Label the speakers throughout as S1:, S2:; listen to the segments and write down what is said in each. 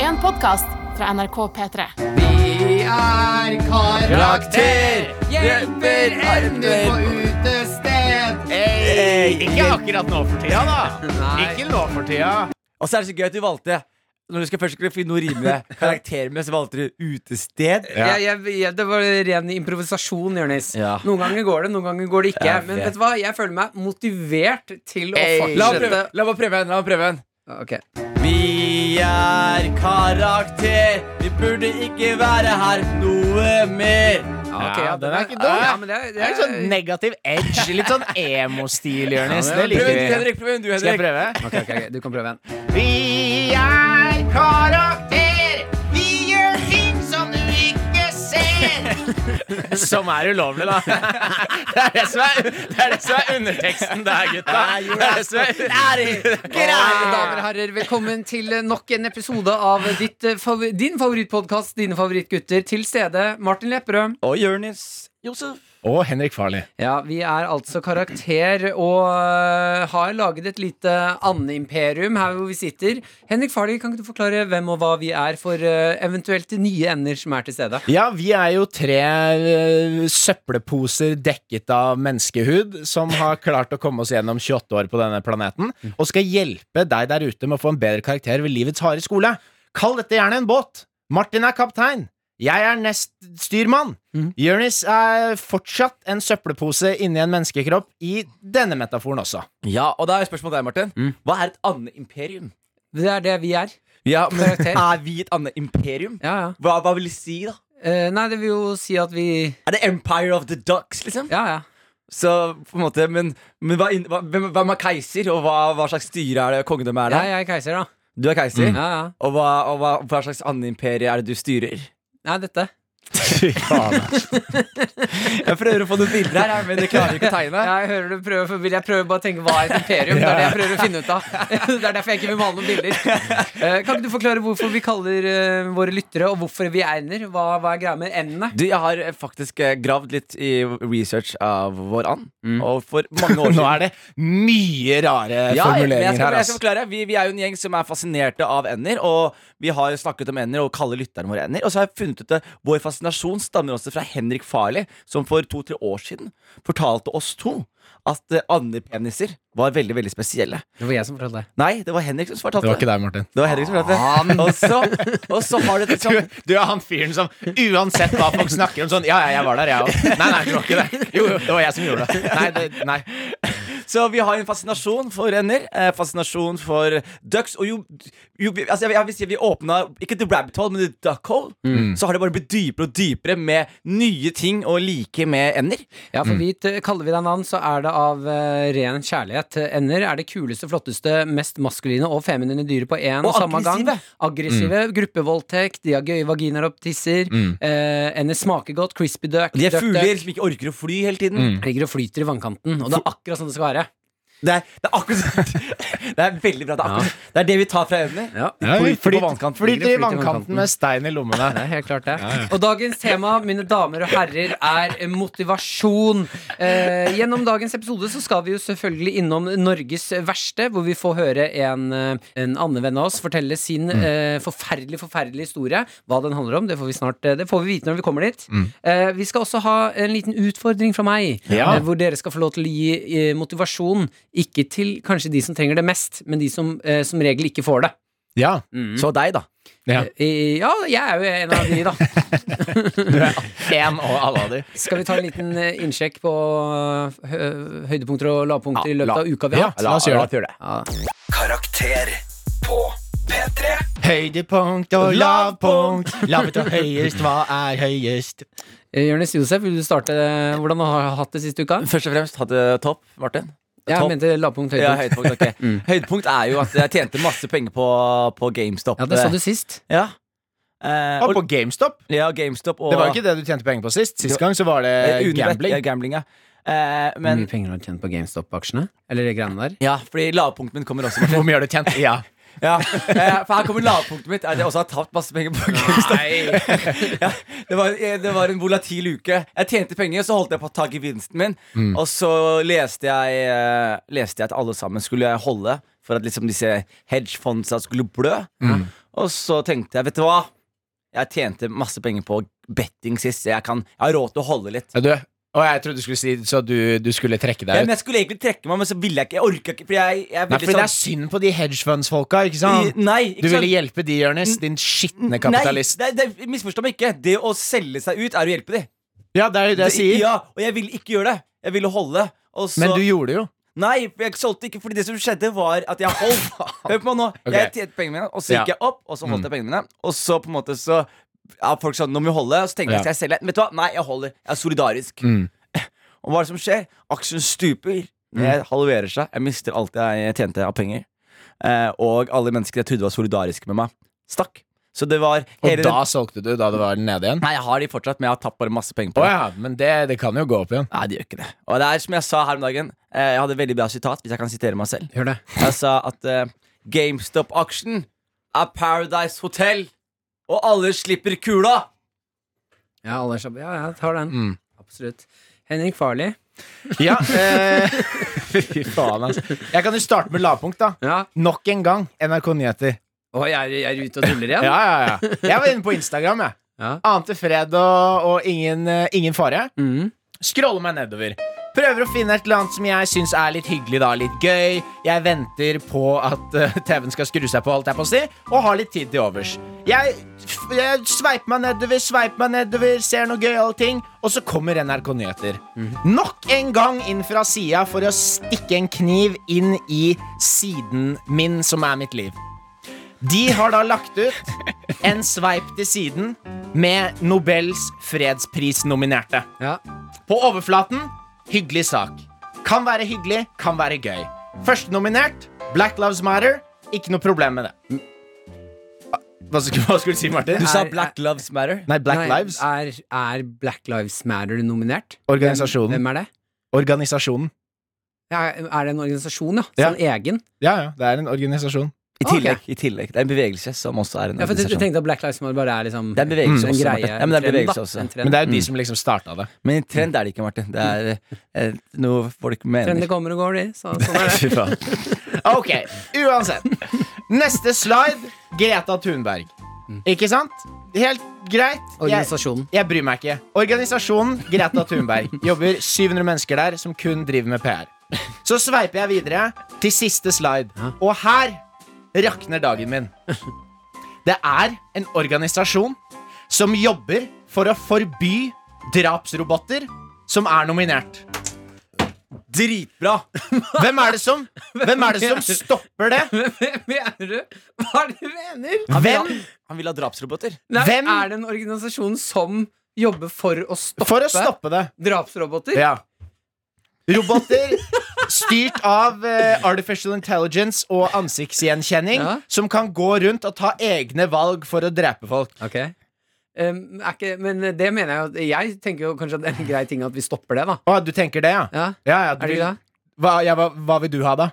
S1: en podkast fra NRK P3.
S2: Vi er karakter, hjelper evner på utested.
S3: Ikke akkurat nå for tida, da.
S2: Nei.
S3: Ikke nå for tida.
S4: Og så er det så gøy at du valgte Når du skal først skulle finne noe å rime karakter med, så valgte du utested.
S3: Ja.
S2: Jeg, jeg, jeg, det var ren improvisasjon, Jonis.
S4: Ja.
S2: Noen ganger går det, noen ganger går det ikke.
S4: Ja,
S2: Men
S4: vet.
S2: vet du hva, jeg føler meg motivert til å
S3: Ey.
S4: La meg
S2: fortsette.
S4: prøve, la meg prøve en. La meg prøve en.
S2: Ok.
S4: Vi er karakter, vi burde ikke være her noe mer.
S2: Ja, ok, ja,
S3: den er ikke dum.
S2: Ja, men det, er-
S3: Det er litt sånn negativ edge. Litt sånn emo-stil, Jonis. Det
S4: Prøv
S3: liker
S4: en du,
S3: vi.
S4: Henrik. Prøv en du,
S3: Skal jeg
S4: Henrik.
S3: prøve?
S2: Ok, ok, ok, du kan prøve en.
S3: Vi er karakter. Vi gjør ting som du ikke ser. Som er ulovlig, da. Det er det som er, det er, det som er underteksten der, gutta. Det er det som er,
S2: Mine damer og herrer, velkommen til nok en episode av ditt, eh, favor din favorittpodkast, dine favorittgutter. Til stede Martin Lepperød.
S4: Og Jonis Josef.
S3: Og Henrik Farley.
S2: Ja, vi er altså karakter og øh, har laget et lite andeimperium her hvor vi sitter. Henrik Farley, kan ikke du forklare hvem og hva vi er for øh, eventuelt nye ender som er til stede?
S3: Ja, vi er jo tre eh, søppelposer dekket av menneskehud som har klart å komme oss gjennom 28 år på denne planeten, og skal hjelpe deg der ute med å få en bedre karakter ved livets harde skole. Kall dette gjerne en båt. Martin er kaptein. Jeg er nest styrmann.
S4: Mm.
S2: Mhm.
S3: Jonis er fortsatt en søppelpose inni en menneskekropp, i denne metaforen også.
S4: Ja, og da er spørsmålet deg, Martin.
S2: Mm.
S4: Hva er et annet imperium?
S2: Det er det vi er.
S4: Ja, men
S2: Karakter.
S4: Er vi et annet imperium?
S2: Ja, ja.
S4: Hva, hva vil du si, da?
S2: Eh, nei, det vil jo si at vi
S4: Er det Empire of the Ducks, liksom?
S2: Ja, ja.
S4: Så på en måte, Men, men hva, inn- hva, hvem, hvem er keiser, og hva, hva slags styre er det? Kongedømme er det?
S2: ja jeg er keiser, da.
S4: Du er keiser?
S2: Ja, ja.
S4: Og, hva, og hva, hva slags annet imperie er det du styrer?
S2: Nei, dette.
S4: Jeg prøver å få noen bilder her, men jeg klarer ikke å tegne.
S2: Jeg hører du prøver, for vil jeg prøver bare å tenke hva er et imperium? Det er det jeg prøver å finne ut av. Det er derfor jeg ikke vil male noen bilder. Eh, kan ikke du forklare hvorfor vi kaller øh, våre lyttere, og hvorfor vi er ender? Hva, hva er greia med endene?
S4: Du, Jeg har eh, faktisk eh, gravd litt i research av vår and.
S2: Mm.
S4: Og for mange år siden
S3: Nå er det mye rare
S4: ja, men jeg
S3: formuleringer her.
S4: skal, jeg skal
S3: Altså.
S4: forklare vi, vi er jo en gjeng som er fascinerte av ender. Og vi har jo snakket om ender og kaller lytterne våre ender. Og så har jeg funnet ut at vår fascinasjon stammer også fra Henrik Farley, som for to-tre år siden fortalte oss to at eh, andepeniser var veldig veldig spesielle.
S2: Det var jeg som fortalte det.
S4: Nei, det var Henrik som fortalte
S3: Det var ikke deg, Martin.
S4: Det var Henrik som fortalte det. Og så, og så har det liksom
S3: du, du er han fyren som uansett hva folk snakker om sånn Ja, ja, jeg var der, jeg òg. Nei, nei, det var ikke det. Jo, jo, det var jeg som gjorde det. Nei, det, nei.
S4: Så vi har en fascinasjon for renner, eh, fascinasjon for ducks. Og jo, jo vi- altså jeg, jeg vil si vi åpna ikke the rabbit hole, men the duck hole. Så har det bare blitt dypere og dypere med nye ting å like med ender.
S2: Ja,
S4: Mm.
S2: for vi t- kaller vi deg navn, så er det av eh, ren kjærlighet. Ender er det kuleste, flotteste, mest maskuline og feminine dyret på én og,
S4: Og
S2: samme gang.
S4: aggressive. Mm.
S2: Aggressive. Gruppevoldtekt, de har gøye vaginaer og tisser. Eh, ender smaker godt, crispy duck.
S4: De er
S2: duck,
S4: fugler Mm.
S2: duck.
S4: som ikke orker å fly hele tiden.
S2: Ligger og flyter i vannkanten, og det er akkurat sånn det skal være.
S4: Det, er, det er akkurat Det er veldig bra. Det er, akkurat, det er det vi tar fra ender.
S2: Ja.
S4: De flyter på vannkanten.
S3: Flyter i
S2: Flyter i vannkanten.
S3: vannkanten med stein i
S2: Det
S3: lommene.
S2: er helt klart det. Og dagens tema, mine damer og herrer, er motivasjon. Eh, gjennom dagens episode så skal vi jo selvfølgelig innom Norges verste, hvor vi får høre en, eh, en annen venn av oss fortelle sin eh, forferdelig, forferdelige historie. Hva den handler om, det får vi snart eh, Det får vi vite når vi kommer dit. Eh, vi skal også ha en liten utfordring fra meg,
S3: Ja.
S2: eh, hvor dere skal få lov til å gi eh, motivasjon, ikke til kanskje de som trenger det mest, men de som eh, som regel ikke får det.
S3: Ja.
S4: Så deg, da.
S3: ja.
S2: Eh, ja, jeg er jo en av de, da.
S3: En og alle av de.
S2: Skal vi ta en liten eh, innsjekk på eh, hø- høydepunkter og lavpunkter i
S4: Ja, la-
S2: løpet av uka vi
S3: Ja.
S2: har hatt?
S3: La oss gjøre det.
S4: gjøre det.
S5: Karakter på P3
S3: Høydepunkt og lavpunkt. Lavt og høyest, hva er høyest?
S2: Eh, Jonis Josef, vil du starte eh, hvordan du har hatt det siste uka?
S4: Først og fremst ha det topp, Martin.
S2: Jeg
S4: topp.
S2: mente lavpunkt,
S4: Ja,
S2: høydepunkt.
S4: høydepunkt, Mm. ok Høydepunkt er jo at jeg tjente masse penger på, på GameStop.
S2: Ja, det sa du sist.
S4: Ja. Eh,
S3: Og
S4: og,
S3: på GameStop.
S4: ja, GameStop og
S3: Det var jo ikke det du tjente penger på sist. Sist gang så var
S4: eh,
S3: det
S4: Unibet. Ja,
S3: gambling. Mm.
S4: gambling ja. Eh,
S2: Hvor
S4: men
S2: mye penger har du tjent på GameStop-aksjene? Eller de greiene der?
S4: ja, fordi lavpunktet mitt kommer også. Martin.
S3: Hvor mye har du tjent? Ja.
S4: Ja, eh, for her kommer lavpunktet mitt. Er at jeg også har tapt masse penger
S3: Ah.
S4: på GameStop. ja, det, var, eh, det var en volatil uke. Jeg tjente penger, så holdt jeg på å ta gevinsten min.
S3: Mm.
S4: Og så leste jeg, eh,
S3: Mm.
S4: leste jeg at alle sammen skulle holde for at liksom disse hedgefondsa skulle blø. Og så tenkte jeg, vet du hva? Jeg tjente masse penger på betting sist. Jeg, kan, jeg har råd til å holde litt.
S3: Ja, Du, og jeg trodde du skulle si så du, du skulle trekke
S4: Ja,
S3: deg ut.
S4: men jeg skulle egentlig trekke meg, men så ville jeg ikke. Jeg orka ikke. For jeg, jeg er
S3: Nei,
S4: veldig
S3: fordi det er synd på de hedgefunds-folka, ikke sant?
S4: sånn Nei,
S3: Du
S4: ikke
S3: ville
S4: sant?
S3: hjelpe de, Jonis, din skitne kapitalist.
S4: Nei, nei, nei, misforstå meg ikke. Det å selge seg ut er å hjelpe dem.
S3: Ja, det er jo det jeg sier.
S4: Ja, og jeg ville ikke gjøre det. Jeg ville holde. Og så,
S3: Men du gjorde det jo.
S4: Nei, for jeg solgte ikke, fordi det som skjedde, var at jeg holdt. Hør på meg nå.
S3: Ok.
S4: Jeg tjente pengene mine, og så gikk
S3: Ja. Mm.
S4: jeg opp, og så holdt jeg pengene mine. Og så på en måte så ja, Folk sa nå må vi holde, og så tenkte jeg
S3: Ja.
S4: skal jeg selge. Vet du hva, nei, jeg holder. Jeg er solidarisk.
S3: Mm.
S4: Og hva er det som skjer? Aksjen stuper. Det
S3: Mm.
S4: halverer seg. Jeg mister alt jeg tjente av penger. Eh, og alle mennesker jeg trodde var solidariske med meg, stakk. Så det var
S3: Og
S4: hele
S3: da solgte du, da det var nede igjen?
S4: Nei, jeg har de fortsatt, men jeg har tapt bare masse penger
S3: Å
S4: på det.
S3: ja, men det, det kan jo gå opp igjen.
S4: Nei, det gjør ikke det. Og det er som jeg sa her om dagen, eh, jeg hadde et veldig bra sitat, hvis jeg kan sitere meg selv.
S2: Gjør det.
S4: Jeg sa at eh, GameStop-aksjen er Paradise Hotel, og alle slipper kula.
S2: Ja, alle er så- ja, jeg tar den.
S3: Mm.
S2: Absolutt. Henrik Farli.
S3: Ja, eh, Fy faen, altså. Jeg kan jo starte med lavpunkt, da.
S2: Ja.
S3: Nok en gang NRK Nyheter.
S2: Å, jeg er, jeg er ute og tuller igjen?
S3: Ja, ja, ja. Jeg var inne på Instagram, jeg.
S2: Ja.
S3: Ante fred og, og ingen, eh, ingen fare.
S2: Mhm.
S3: Scroller meg nedover. Prøver å finne et eller annet som jeg syns er litt hyggelig, da. Litt gøy. Jeg venter på at eh, TV-en skal skru seg på, holdt jeg på å si, og har litt tid til overs. Jeg, f- jeg sveiper meg nedover, sveiper meg nedover, ser noe gøy, alle ting, og så kommer NRK Nyheter.
S2: Mhm.
S3: Nok en gang inn fra sida for å stikke en kniv inn i siden min, som er mitt liv. De har da lagt ut en sveip til siden med Nobels fredsprisnominerte.
S2: Ja.
S3: På overflaten, hyggelig sak. Kan være hyggelig, kan være gøy. Førstenominert, Black Lives Matter. Ikke noe problem med det. Hva skulle, hva skulle du si, Martin?
S4: Du sa
S2: Er-
S4: Black Lives Matter.
S3: Nei, Black
S2: Nei,
S3: Lives.
S2: Er, er Black Lives Matter nominert?
S3: Organisasjonen.
S2: Hvem, hvem er det?
S3: Organisasjonen.
S2: Ja, er det en organisasjon, ja? Sånn egen?
S3: Ja, ja, det er en organisasjon.
S4: I tillegg. i tillegg Det er en bevegelse som også er en
S2: Ja, for jeg
S4: organisasjon.
S2: tenkte at Black Lives Matter bare er liksom
S4: Det er en bevegelse
S2: en
S4: også,
S2: greie.
S4: Martin. Ja, men det er en
S2: trend, da.
S4: bevegelse også.
S2: En trend.
S3: Men det er jo de som liksom starta det.
S4: Men trend er det ikke, Martin. Det er eh, noe folk mener.
S2: Trender kommer og går, de. Så, sånn er det.
S3: Fy faen. Ok, uansett. Neste slide, Greta Thunberg. Ikke sant? Helt greit. Jeg-
S2: Organisasjonen.
S3: Jeg bryr meg ikke. Organisasjonen Greta Thunberg jobber 700 mennesker der som kun driver med PR. Så sveiper jeg videre til siste slide, og her rakner dagen min. Det er en organisasjon som jobber for å forby drapsroboter som er nominert.
S4: Dritbra!
S3: Hvem er det som, hvem er det som stopper det?
S2: Hvem mener du? Hva er det du mener?
S3: Hvem
S4: Han vil ha drapsroboter.
S2: Nei,
S3: Hvem-
S2: Er det en organisasjon som jobber for å stoppe,
S3: For å stoppe det.
S2: drapsroboter?
S3: Ja. Roboter styrt av eh, artificial intelligence og ansiktsgjenkjenning
S2: Ja.
S3: som kan gå rundt og ta egne valg for å drepe folk.
S2: Ok um, er ikke, Men det mener jeg jo Jeg tenker jo kanskje at det er en grei ting at vi stopper det, da.
S3: Å, du tenker det, ja?
S2: Ja,
S3: ja, ja du,
S2: er det ikke det?
S3: Hva, ja, hva, hva vil du ha, da?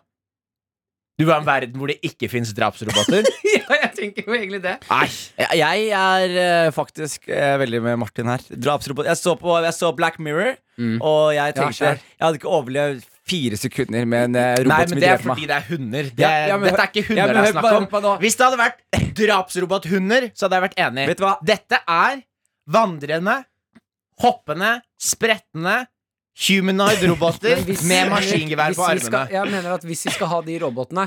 S3: Du vil ha en verden hvor det ikke fins drapsroboter?
S2: ja, jeg tenker jo egentlig det.
S3: Nei.
S4: Jeg- Jeg er eh, faktisk eh, veldig med Martin her. Drapsrobot. Jeg så på jeg så Black Mirror, og jeg
S2: Ja,
S4: tenkte
S2: skjær.
S4: Jeg hadde ikke overlevd fire sekunder med en eh,
S3: Nei,
S4: robot som
S3: men det er
S4: drepte meg.
S3: fordi det er hunder. Det,
S4: Ja, ja, men
S3: dette
S4: hør-
S3: er ikke
S4: ja,
S3: hunder
S4: men
S3: det er
S4: hør på- hør
S3: snakk
S4: på
S3: om.
S4: nå.
S3: Hvis det hadde vært drapsrobothunder, så hadde jeg vært enig.
S4: Vet du hva?
S3: Dette er vandrende, hoppende, sprettende humanoid roboter
S2: Men hvis-
S3: med maskingevær
S2: hvis
S3: på
S2: vi skal-
S3: armene.
S2: Jeg mener at hvis vi skal ha de robotene,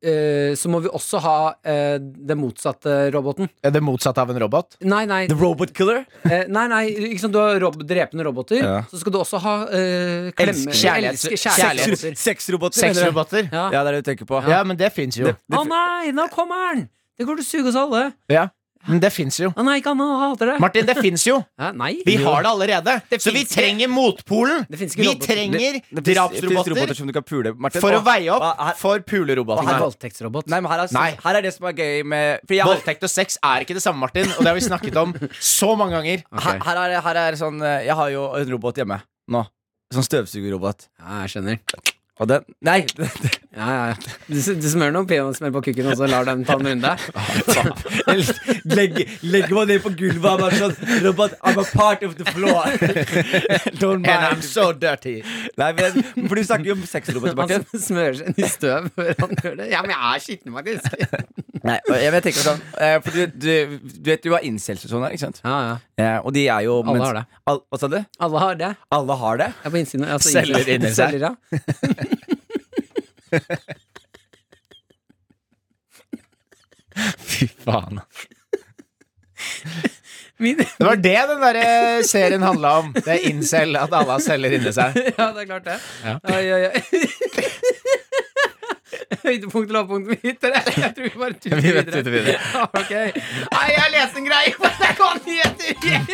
S2: eh, så må vi også ha eh, den motsatte roboten.
S3: Er det motsatte av en robot?
S2: Nei, nei,
S4: The Robot Killer?
S2: eh, nei, nei ikke sant, du har rob drepende roboter.
S4: Ja.
S2: Så skal du også ha eh, klemme...
S3: Kjærlighets-
S2: elske-
S3: kjærlighets-
S2: kjærlighetsroboter.
S4: Sexroboter? mener du?
S3: Sexroboter?
S2: Ja.
S4: Ja, det er det du tenker på.
S3: Ja, men det fins jo.
S2: Å nei, nå kommer han! Det går til å suge oss alle.
S3: Ja. Men det fins jo.
S2: Å nei, ikke han, han hater det.
S3: Martin, det fins jo!
S2: Hæ, nei.
S3: Vi har det allerede. Så vi
S2: finnes ikke.
S3: trenger motpolen.
S2: Det finnes ikke
S3: Vi
S2: roboter.
S3: trenger
S4: Det finnes- finnes roboter
S3: drapsroboter
S4: som du kan pule, Martin.
S3: for å
S4: Å,
S3: veie
S4: å, her-
S3: opp for
S2: Det er
S3: pulerobotene.
S2: en voldtektsrobot.
S4: Nei, men her er,
S3: Nei.
S4: her er det som er gøy med for jeg, har-
S3: Voldtekt og sex er ikke det samme, Martin. Og det har vi snakket om så mange ganger.
S4: her, her, er, her er sånn eh, Jeg har jo en robot hjemme nå. Sånn støvsugerrobot.
S2: Ja, jeg skjønner.
S4: Og den Nei! Den,
S2: Ja, ja, ja. Du, s- du smører noen peanøttsmør på kukken, og så lar dem ta en runde?
S4: Legg, legg meg ned på gulvet og bare sånn Robert, I'm a part of the floor. Don't
S3: And I'm
S4: mind.
S3: so dirty.
S4: Nei, men, for du snakker jo om sex, Robert Martin.
S2: Han smører seg inn i støv før han gjør det. Ja, men jeg er skitten, faktisk.
S4: Nei, og jeg, jeg tenker sånn eh, For du, du, du vet du har incels og sånn her, ikke sant?
S2: Ja, ja.
S4: Eh, og de er jo
S2: Alle har det.
S4: Al, hva sa du?
S2: Alle har det.
S4: Alle har det?
S2: Jeg er på innsiden. Altså,
S3: Selger
S2: innsiden.
S3: inni seg.
S2: Selger, ja.
S3: Fy faen.
S2: Min,
S3: Det var det den der eh, serien handla om. Det er incel, at alle har celler inni seg.
S2: ja, det er klart det.
S3: Ja.
S2: Oi, oi, oi. Høydepunkt og lavpunkt mitt, eller? Jeg tror vi bare tuter
S3: Vi vet
S2: videre.
S3: tuter videre.
S2: Ja, ok. Nei, jeg leste en greie på NRK Nyheter!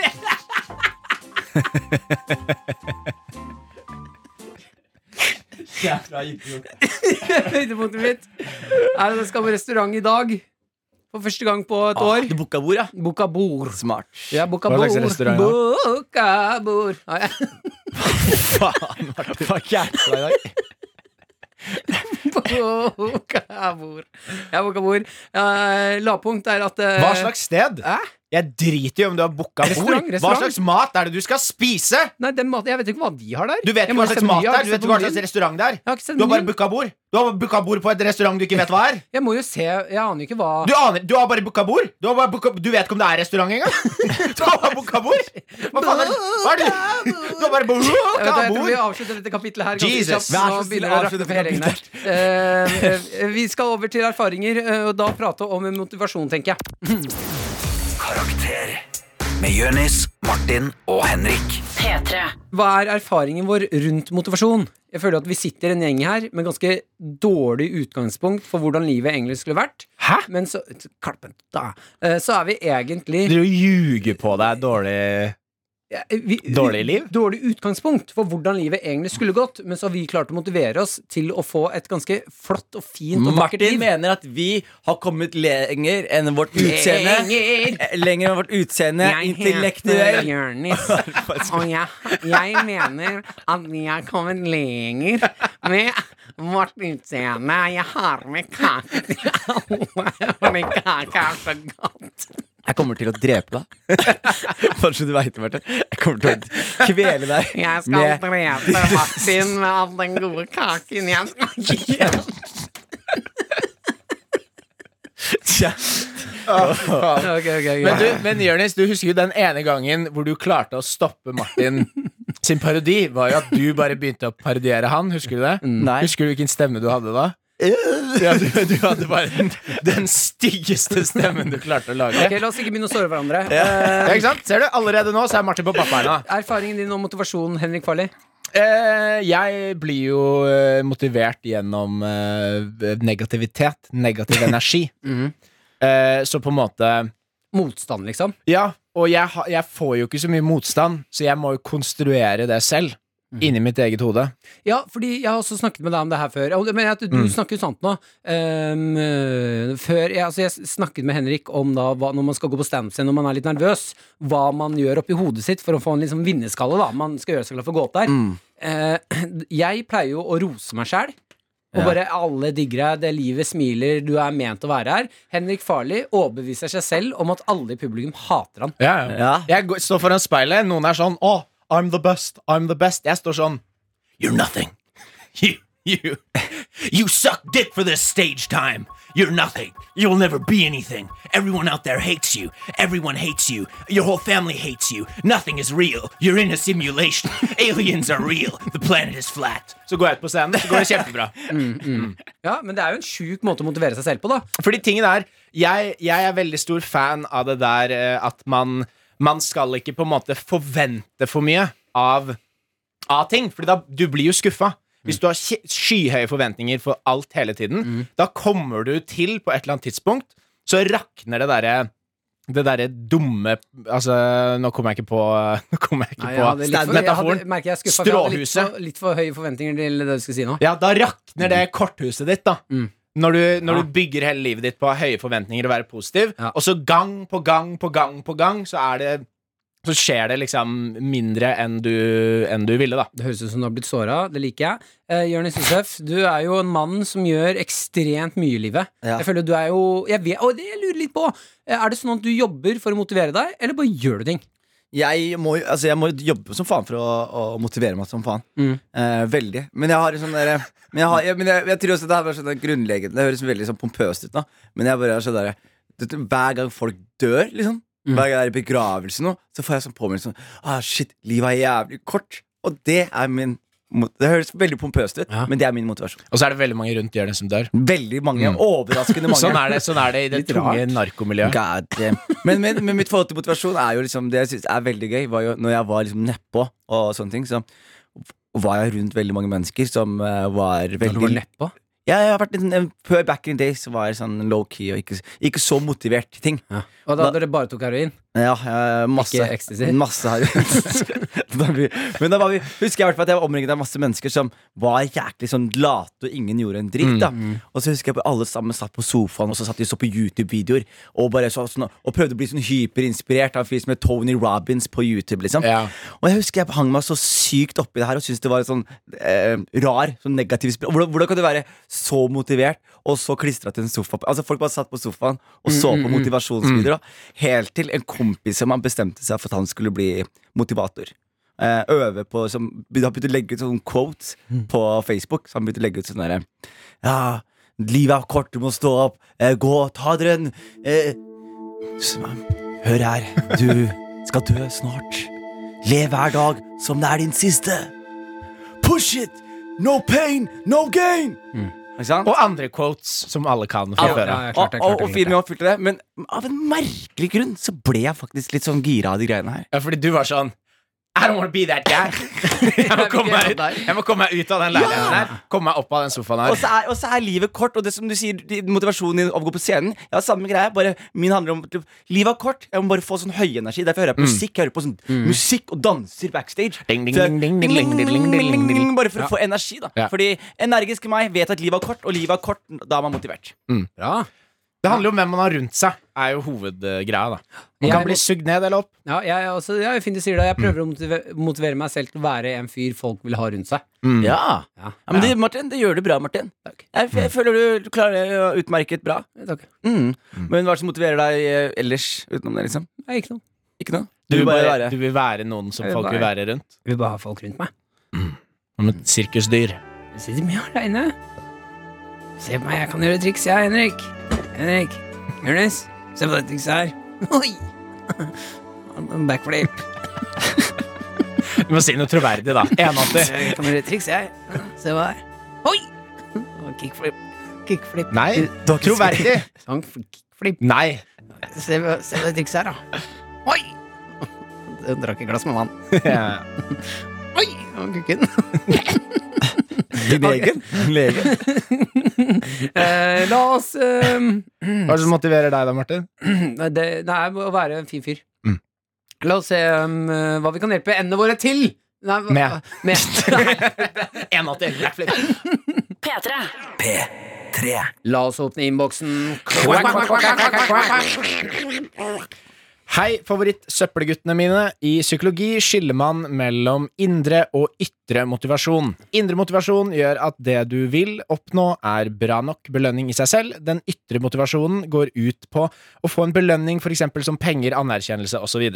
S2: Høydepunktet mitt er at jeg skal på restaurant i dag. For første gang på et
S4: Ah,
S2: år.
S4: du booka bord, ja.
S2: Boka bord.
S4: Smart.
S2: Ja, boka
S3: Hva
S2: bord.
S3: slags restaurant da?
S2: Boka bord. Ja, ja.
S3: Faen, Martin. Fuck, jeg er så i dag.
S2: Boka bord. Ja, boka bord. Eh, lavpunkt er at eh,
S3: Hva slags sted?
S2: Hæ?
S3: Jeg driter i om du har booka bord.
S2: Restaurant,
S3: Hva
S2: restaurant.
S3: slags mat er det du skal spise?
S2: Nei, den maten, jeg vet ikke hva de har der.
S3: Du vet
S2: Jeg
S3: ikke
S2: må
S3: hva slags
S2: se
S3: mat
S2: menyen,
S3: det
S2: har
S3: er,
S2: ikke
S3: du
S2: sett
S3: vet ikke hva slags
S2: menyen.
S3: restaurant det er.
S2: Jeg har ikke sett
S3: Du har bare
S2: menyen.
S3: booka bord. Du har booka bord på et restaurant du ikke vet hva er.
S2: Jeg må jo se Jeg aner jo ikke hva
S3: Du, aner, du har bare booka bord. Du, har bare booka, du vet ikke om det er restaurant engang. Du har bare booka bord. Hva faen er det? Hva er det? du- Du har bare
S2: Jeg vet
S3: booka
S2: ikke, jeg tror vi
S3: bord.
S2: avslutter dette kapitlet her. ganske
S3: Jesus,
S2: kjapt.
S4: vær
S2: Nå
S4: så snill,
S2: begynner det å
S4: avslutt
S2: rakne
S4: dette
S2: for Erik her. Eh, eh, Vi skal over til erfaringer, eh, og da prate om motivasjon, tenker jeg.
S5: Karakter med Jønis, Martin og Henrik.
S6: P3.
S2: Hva er erfaringen vår rundt motivasjon? Jeg føler at vi sitter en gjeng her med ganske dårlig utgangspunkt for hvordan livet egentlig skulle vært.
S3: Hæ?
S2: Men så Kalpen, da. Eh, Så er vi egentlig
S3: Du ljuger på deg dårlig
S2: Ja, eh, vi,
S3: Dårlig liv?
S2: Dårlig utgangspunkt for hvordan livet egentlig skulle gått, men så har vi klart å motivere oss til å få et ganske flott og fint og vakkert
S4: Martin
S2: liv.
S4: mener at vi har kommet lenger enn vårt utseende.
S2: Lenger.
S4: Eh, Lenger enn vårt utseende.
S2: Jeg heter
S4: Intellektuell.
S2: Jonis, og jeg, jeg mener at vi har kommet lenger med vårt utseende. Jeg har med kake til alle, men kake er så godt.
S4: Jeg kommer til å drepe deg. Bare så du veit det, Martin. Jeg kommer til å kvele deg.
S2: Jeg skal
S4: med-
S2: drepe Martin med all den gode kaken jeg skal gi ham.
S4: Tja.
S3: Men, du, men Jørnis, du husker jo den ene gangen hvor du klarte å stoppe Martin sin parodi, var jo at du bare begynte å parodiere han. Husker du det?
S4: Nei.
S3: Husker du hvilken stemme du hadde da? Ja, du, du hadde bare den, den styggeste stemmen du klarte å lage.
S2: Ok, La oss ikke begynne å såre hverandre.
S3: Ja, ikke sant? Ser du? Allerede nå så er Martin på pappaerna.
S2: Eh, erfaringen din og motivasjonen, Henrik Farley?
S3: Eh, jeg blir jo eh, motivert gjennom eh, negativitet. Negativ energi. eh, så på en måte
S2: Motstand, liksom?
S3: Ja, og jeg, ha- jeg får jo ikke så mye motstand, så jeg må jo konstruere det selv. Inni mitt eget hode.
S2: Ja, fordi jeg har også snakket med deg om det her før. Og- Men jeg, du snakker jo sant nå. Ehm, øh, før jeg, altså jeg snakket med Henrik om da hva, når man skal gå på standup-scenen når man er litt nervøs, hva man gjør oppi hodet sitt for å få en liksom vinnerskalle. da Man skal gjøre seg klar for å gå opp der. Eh, jeg pleier jo å rose meg sjæl. Og bare alle digger deg, det livet smiler, du er ment å være her. Henrik Farley overbeviser seg selv om at alle i publikum hater han.
S3: Ja,
S4: Ja.
S3: Jeg går, står foran speilet, noen er sånn Å, I'm the best, I'm the best. Jeg står sånn You're nothing. You, you, you suck dick for this stage time. You're nothing. You'll never be anything. Everyone out there hates you. Everyone hates you. Your whole family hates you. Nothing is real. You're in a simulation. Aliens are real. The planet is flat. Så går jeg ut på scenen, så går det kjempebra.
S2: Ja, Men det er jo en sjuk måte å motivere seg selv på, da.
S3: Fordi tingen er jeg, jeg er veldig stor fan av det der eh, at man, man skal ikke på en måte forvente for mye av, av ting. Fordi da du blir jo skuffa.
S2: Mm.
S3: Hvis du har kje- skyhøye forventninger for alt hele tiden, da kommer du til på et eller annet tidspunkt, så rakner det derre det derre dumme Altså, nå kommer jeg ikke på Nå kommer jeg ikke
S2: Nei,
S3: på
S2: jeg hadde litt for, jeg hadde,
S3: metaforen.
S2: merker jeg er skuffa. for Jeg hadde litt
S3: Stråhuset.
S2: for, litt for høye forventninger til det du skulle si nå.
S3: Ja, da rakner det korthuset ditt, da.
S2: Mm.
S3: Når, du, når
S2: Ja.
S3: du bygger hele livet ditt på høye forventninger og være positiv,
S2: Ja.
S3: og så gang på gang på gang på gang, så er det så skjer det liksom mindre enn du, enn du ville, da.
S2: Det høres ut som du har blitt såra. Det liker jeg. Eh, Jonis Josef, du er jo en mann som gjør ekstremt mye i livet.
S4: Ja.
S2: Jeg føler du er jo jeg vet, Og det jeg lurer litt på! eh, Er det sånn at du jobber for å motivere deg, eller bare gjør du ting?
S4: Jeg må, jo- altså jeg må jobbe som faen for å, å motivere meg som faen.
S2: Mm.
S4: Eh, veldig. Men jeg har en sånn derre Men jeg, har, jeg, men jeg, jeg tror også det her var sånn grunnleggende Det høres veldig sånn pompøst ut nå, men jeg bare er sånn derre du vet, Hver gang folk dør, liksom,
S3: Mm.
S4: hver gang det er i begravelse nå, så får jeg sånn påminnelse om ah, shit, livet er jævlig kort. Og det er min mot- Det høres veldig pompøst ut,
S2: Ja.
S4: men det er min motivasjon.
S3: Og så er det veldig mange rundt hjørnet som dør.
S4: Veldig mange. Overraskende mange.
S3: Mm. Sånn er det, sånn er det i det
S4: Litt
S3: tunge
S4: rart.
S3: narkomiljøet.
S4: God damn. Men, men, men mitt forhold til motivasjon er jo liksom det jeg synes er veldig gøy. Var jo, når jeg var liksom nedpå og sånne ting, så var jeg rundt veldig mange mennesker som eh, var
S2: Når du
S4: veldig
S2: går nedpå?
S4: ja, jeg har vært litt, sånn- Før back in the days så var jeg sånn low key og ikke, ikke så motivert til ting.
S2: Og da dere bare tok heroin?
S4: Ja, eh, masse
S2: Ikke ecstasy?
S4: Masse her da vi, Men da var vi Husker jeg i hvert fall at jeg var omringet av masse mennesker Som var jæklig sånn late Og ingen gjorde en dritt da
S2: Mm.
S4: Og så husker jeg at alle sammen satt på sofaen Og så satt de så på YouTube-videoer Og bare så sånn Og prøvde å bli sånn hyperinspirert Av en fyr som heter Tony Robbins på YouTube liksom
S3: Ja.
S4: Og jeg husker jeg hang meg så sykt oppi det her Og syntes det var en sånn eh, rar Sånn negativ spil hvordan, hvordan kan du være så motivert Og så klistret til en sofa Altså folk bare satt på sofaen Og så på motivasjonsvideoer da. Helt til en kompis som han bestemte seg for at han skulle bli motivator. Eh, øve på som, Han begynte å legge ut sånne quotes
S2: Mm.
S4: på Facebook. Så han begynte å legge ut sånn derre Ja, livet er kort, du må stå opp. Eh, gå, ta dere en eh, s- Hør her, du skal dø snart. Lev hver dag som det er din siste. Push it! No pain, no gain!
S2: Mm.
S4: Ikke sant?
S3: Og andre quotes som alle kan fra
S2: Ja,
S3: før
S2: ja,
S3: av.
S2: ja, klart
S4: Og,
S2: det,
S4: og,
S2: klart det,
S4: og
S2: klart
S4: filmen
S2: det.
S4: oppfylte det, men av en merkelig grunn så ble jeg faktisk litt sånn gira av de greiene her.
S3: Ja, fordi du var sånn I don't wanna be that guy. Jeg må komme meg ut, jeg må komme meg ut av den leiligheten her. Komme meg opp av den sofaen
S4: Og
S3: her.
S4: så, er, og så er livet kort, og det som du sier, de- motivasjonen din av å gå på scenen Ja, samme greie, bare min handler om at Livet er kort, jeg må bare få sånn høyenergi. Derfor hører jeg på musikk. Jeg hører på sånn musikk og danser backstage.
S3: Mm. Ding, ding,
S4: Så
S3: ding,
S4: jeg-
S3: ding, ding, ding, ding, ding, ding, ding, ding.
S4: Bare for å få energi, da.
S3: Ja.
S4: Fordi energisk meg vet at livet er kort, og livet er kort, da er man motivert.
S2: Bra.
S3: Det handler jo om hvem man har rundt seg, er jo hovedgreia, da. Man
S2: Jeg-
S3: kan bli sugd ned eller opp.
S2: Ja, jeg, er også, ja, fint du sier det. Jeg prøver å motive- motivere meg selv til å være en fyr folk vil ha rundt seg.
S4: Mm.
S3: Mm.
S4: Ja.
S2: Ja.
S4: Ja, men Det, Martin, det gjør du bra, Martin. Jeg,
S3: Mm.
S4: jeg føler du, du klarer det jo utmerket bra.
S2: Takk.
S4: Mm. Men hva er det som motiverer deg eh, ellers utenom det, liksom?
S2: Nei, ikke noe.
S4: Ikke noe?
S3: Du vil, bare,
S4: være-
S3: du vil være noen som
S2: Jeg vil
S3: folk vil
S2: være-
S3: være rundt.
S2: Jeg vil bare ha folk rundt meg.
S3: Som et sirkusdyr.
S2: Jeg sitter mye aleine. Se på meg, jeg kan gjøre triks, jeg, Henrik. Henrik. Jonis, se på det trikset her. Oi! Backflip.
S3: Du må si noe troverdig, da. Enhatter.
S2: Jeg kan gjøre triks, jeg. Se hva her. Oi! Og Kickflip. Kickflip.
S3: Nei.
S4: Du har ikke
S3: Troverdig.
S2: Sånn, Kickflip.
S3: Nei.
S2: Se, se på det trikset her, da. Oi! Jeg drakk et glass med vann.
S3: Ja.
S2: Oi! Og kukken.
S4: Din egen? Legen.
S2: Eh, la oss eh,
S3: Hva er det som motiverer deg da, Martin?
S2: Nei, det, det er å være en fin fyr. La oss se um, eh, hva vi kan hjelpe endene våre til. Nei, hva-
S3: Med.
S2: med.
S3: Enhatter. Backflip.
S1: P3.
S5: P3
S2: La oss åpne innboksen.
S3: Hei, favorittsøppelguttene mine. I psykologi skiller man mellom indre og ytre motivasjon. Indre motivasjon gjør at det du vil oppnå, er bra nok belønning i seg selv. Den ytre motivasjonen går ut på å få en belønning, f.eks. som penger, anerkjennelse osv.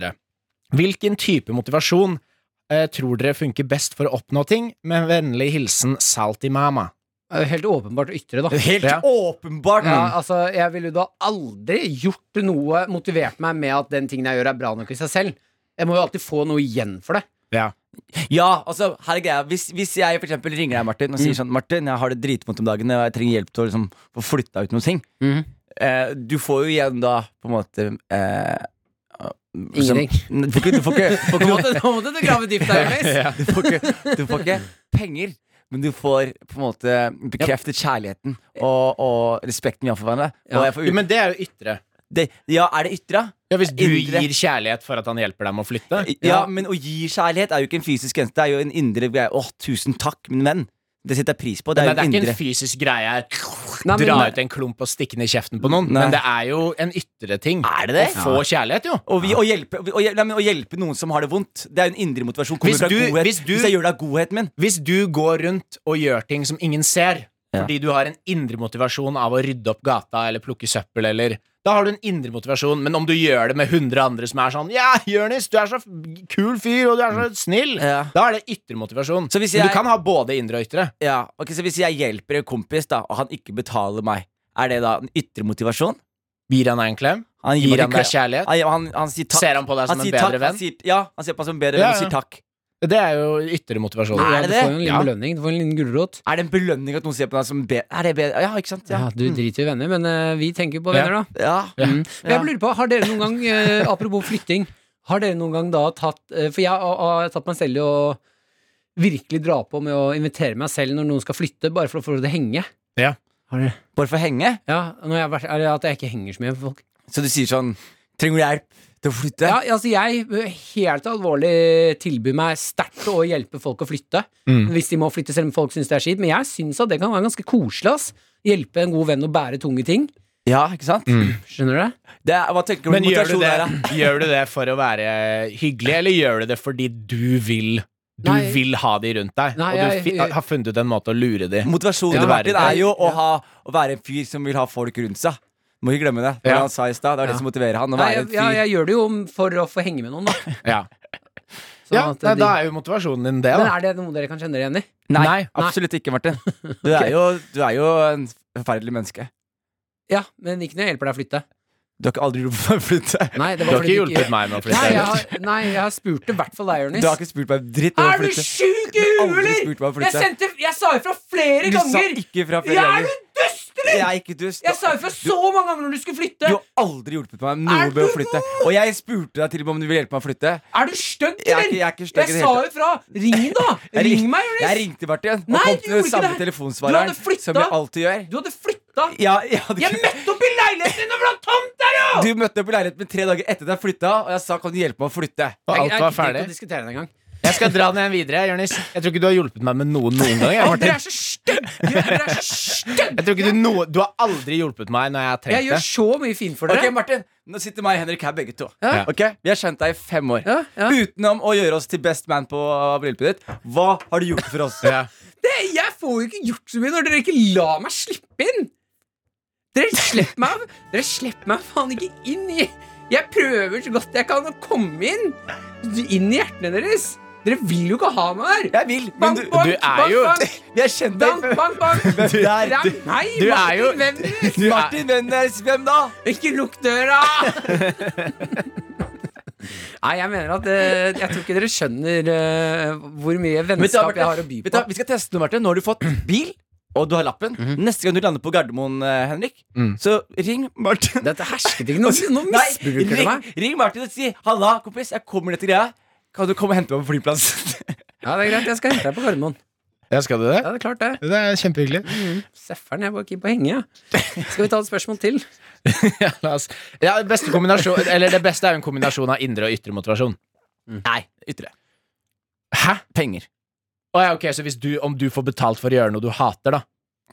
S3: Hvilken type motivasjon eh, tror dere funker best for å oppnå ting? Med vennlig hilsen Salty Mama.
S2: Det er jo Helt åpenbart ytre, da.
S4: Helt
S3: Ja.
S4: åpenbart!
S2: Ja, altså, jeg ville jo da aldri gjort noe motivert meg med at den tingen jeg gjør, er bra nok i seg selv. Jeg må jo alltid få noe igjen for det.
S3: Ja.
S4: Ja, altså, her er greia Hvis, hvis jeg for eksempel ringer deg, Martin, og sier sånn Martin, jeg har det dritvondt om dagen, og jeg trenger hjelp til å liksom, få flytta ut noen ting.
S2: Mhm.
S4: Eh, du får jo igjen da, på en måte eh, som-
S2: Ingenting.
S4: Du får ikke, du får ikke,
S2: Nå måtte, nå måtte du grave dypt der, Jonis.
S4: du får ikke, du får ikke penger. Men du får på en måte bekreftet kjærligheten og, og respekten vi har for hverandre. Og
S2: Ja.
S4: jeg får ut,
S3: Men det er jo ytre.
S4: det, ja, er det ytre?
S3: Ja, Hvis du
S4: Indre.
S3: gir kjærlighet for at han hjelper deg med å flytte.
S4: Ja, men å gi kjærlighet er jo ikke en fysisk grense. Det er jo en indre greie. Åh, tusen takk, min venn. Det setter jeg pris på. Det
S3: Nei,
S4: er jo
S3: det er
S4: en
S3: ikke
S4: indre
S3: en fysisk greie her.
S2: Nei, men-
S3: dra ut en klump og stikke den i kjeften på noen,
S4: Nei.
S3: men det er jo en ytre ting.
S4: Er det det?
S3: Å få kjærlighet, jo.
S4: Og vi, å, hjelpe, og, hjelpe, nei, men, å hjelpe noen som har det vondt, det er jo en indre motivasjon. Kommer
S3: Hvis
S4: fra
S3: du-
S4: godhet.
S3: hvis du-
S4: jeg gjør det av godheten min.
S3: Hvis du går rundt og gjør ting som ingen ser,
S4: Ja.
S3: fordi du har en indre motivasjon av å rydde opp gata eller plukke søppel eller da har du en indre motivasjon, men om du gjør det med 100 andre som er sånn Ja, Jonis, du er så f- kul fyr, og du er så snill.
S4: Mm. Ja.
S3: Da er det ytre motivasjon.
S4: Så hvis
S3: Men
S4: jeg-
S3: du kan ha både indre og ytre.
S4: Ja, ok, Så hvis jeg hjelper en kompis, da og han ikke betaler meg, er det da en ytre motivasjon?
S3: Gir han deg en klem?
S4: Han
S3: Gir han
S4: meg
S3: deg
S4: ikke-
S3: kjærlighet?
S4: Han, han, han sier takk.
S3: Ser han på deg som
S4: Han
S3: en
S4: sier
S3: bedre
S4: takk,
S3: venn?
S4: Han sier, ja, han ser på meg som en bedre
S3: Ja,
S4: venn og
S3: ja.
S4: sier takk.
S3: Det er jo ytre motivasjon.
S4: Er
S2: Ja,
S4: det
S2: du
S4: det?
S2: får jo en liten
S3: Ja.
S2: belønning. Du får en liten gulrot.
S4: Er det en belønning at noen ser på deg som bedre? Er det bedre? Ja, ikke sant?
S2: Ja, Mm.
S4: Ja.
S2: du driter jo i venner, men eh, vi tenker jo på
S3: Ja.
S2: venner, da.
S4: ja.
S2: Mm. Men jeg
S4: Ja.
S2: lurer på, har dere noen gang, eh, apropos flytting, har dere noen gang da tatt eh, For jeg har, har tatt meg selv i å virkelig dra på med å invitere meg selv når noen skal flytte, bare for å få det til å henge.
S3: Ja.
S2: Har dere?
S4: Bare for å henge?
S2: Ja, når jeg, har vært- eller at jeg ikke henger så mye med folk.
S4: Så du sier sånn Trenger du hjelp til å flytte?
S2: Ja, altså jeg eh, helt alvorlig tilbyr meg sterkt å hjelpe folk å flytte,
S3: Mm.
S2: hvis de må flytte, selv om folk syns det er skitt. Men jeg syns at det kan være ganske koselig, ass. Hjelpe en god venn å bære tunge ting.
S4: Ja, ikke sant?
S2: Skjønner du det?
S4: Det er, hva tenker Mm. du om
S3: Men gjør du,
S4: motivasjon
S3: det,
S4: der, da?
S3: gjør du det for å være hyggelig, eller gjør du det fordi du vil Du
S2: Nei.
S3: vil ha de rundt deg,
S2: Nei,
S3: og du
S2: jeg- Sånn
S3: fi, har funnet ut en måte å lure de
S4: Motivasjonen
S3: Ja.
S4: til Martin er jo å,
S2: Ja.
S4: ha, å være en fyr som vil ha folk rundt seg. Må ikke glemme det. Det var
S3: Ja.
S4: det han sa i stad. Det er det som motiverer han. Å
S2: Nei,
S4: være
S2: jeg,
S4: en
S2: ja,
S4: fyr
S2: jeg gjør det jo for å få henge med noen, da.
S3: Ja,
S2: Sånn
S3: ja
S2: at
S3: nei,
S2: de-
S3: da er jo motivasjonen din det,
S2: Men
S3: da.
S2: er det noe dere kan kjenne dere igjen i?
S4: Nei,
S3: Nei.
S4: absolutt ikke, Martin. Du er jo, du er jo en forferdelig menneske.
S2: Ja, men ikke når jeg hjelper deg å flytte.
S4: Du har ikke aldri gjort meg flytte.
S2: Nei,
S3: Du har
S2: det var
S3: ikke
S2: fordi
S3: hjulpet meg med å
S2: Nei,
S3: flytte.
S2: jeg
S3: eller?
S2: har, nei, jeg har spurt det i hvert fall deg,
S4: Du har
S2: Jonis.
S4: ikke spurt meg om dritt om å
S2: Er du
S4: flytte.
S2: sjuk i
S4: har
S2: huet,
S4: aldri
S2: eller?!
S4: spurt meg å
S2: Jeg,
S4: flytte.
S2: sendte, jeg sa ifra flere
S4: Du sa
S2: ganger!
S4: ikke fra før
S2: Ja, er
S4: heller.
S2: du dust, eller?!
S4: Jeg er ikke dust.
S2: Jeg sa ifra så mange ganger når du skulle flytte!
S4: Du har aldri hjulpet meg med
S2: Er
S4: noe med å
S2: du
S4: flytte. Og jeg spurte deg til og med om du ville hjelpe meg å flytte.
S2: Er du stygg,
S4: Jeg er
S2: eller?!
S4: ikke, jeg er ikke stygg i det
S2: sa
S4: hele tatt.
S2: ifra! Ring, da!
S4: Jeg
S2: Ring
S4: ring-
S2: meg,
S4: Jeg
S2: Jonis!
S4: ringte Martin og
S2: Nei,
S4: kom
S2: du
S4: til den
S2: gjorde
S4: samme
S2: ikke det. Du
S4: telefonsvareren
S2: hadde flyttet.
S4: som jeg alltid gjør.
S2: Du hadde flytta!
S4: Ja, jeg hadde
S2: Jeg møtte opp i leiligheten din når det var tomt der, jo!
S4: Du møtte opp i leiligheten min tre dager etter at jeg flytta, og jeg sa kan du hjelpe meg å flytte?
S3: Og alt var ferdig. Jeg skal dra den igjen videre, Jonis. Jeg tror ikke du har hjulpet meg med noen noen gang. jeg,
S2: Å, Dere
S3: Martin.
S2: er så stygge! Dere er så stygge!
S3: Jeg tror ikke du, noe- du har aldri hjulpet meg når jeg har
S2: Jeg
S3: trengt
S2: gjør
S3: det.
S2: så mye fint for
S4: Ok,
S2: dere.
S4: Martin, nå sitter meg og Henrik her begge to.
S2: Ja.
S4: Ok, Vi har kjent deg i fem år.
S2: Ja, ja.
S4: Utenom å gjøre oss til best man på bryllupet ditt, hva har du gjort for oss?
S3: Ja.
S2: Det, Eh, jeg får jo ikke gjort så mye når dere ikke lar meg slippe inn. Dere slipper meg Dere slipper meg faen ikke inn i Jeg prøver så godt jeg kan å komme inn. Inn i hjertene deres. Dere vil jo ikke ha meg her.
S4: Jeg vil, men
S2: Bank,
S4: du
S2: bank,
S3: du er
S2: bank,
S3: jo-
S2: bank,
S4: Vi har kjent deg
S2: bank,
S4: før.
S2: bank, bank.
S4: Hvem der?
S2: Dere er meg,
S3: du er
S2: Martin
S3: jo-
S2: Wenders.
S3: Du er-
S4: Martin Wenders, hvem da?
S2: Ikke lukk døra! Nei, jeg mener at eh, Jeg tror ikke dere skjønner eh, hvor mye
S4: Vet du hva,
S2: vennskap jeg har å by
S4: Martin? Vet du
S2: på.
S4: hva, Vi skal teste noe, Martin. Nå har du fått bil, og du har lappen. Neste gang du lander på Gardermoen, eh, Henrik, så ring Martin.
S2: Dette hersket ikke. Nå, nå
S4: Altså, Nei,
S2: misbruker du
S4: ring,
S2: meg.
S4: ring Martin og si 'Halla, kompis, jeg kommer ned til greia'. Kan du komme og hente meg på flyplassen?
S2: Ja, det er greit. Jeg skal hente deg på Gardermoen.
S3: ja, skal du det?
S2: Ja, det er klart det.
S3: Det er kjempehyggelig.
S2: Sefferen, jeg var keen på å henge, jeg. Skal vi ta et spørsmål til?
S3: Ja, la oss- ja, beste kombinasjon, eller det beste er jo en kombinasjon av indre og ytre motivasjon.
S4: Nei, ytre.
S3: Hæ?
S4: Mm. Penger.
S3: Å ja, ok, Så hvis du, om du får betalt for å gjøre noe du hater, da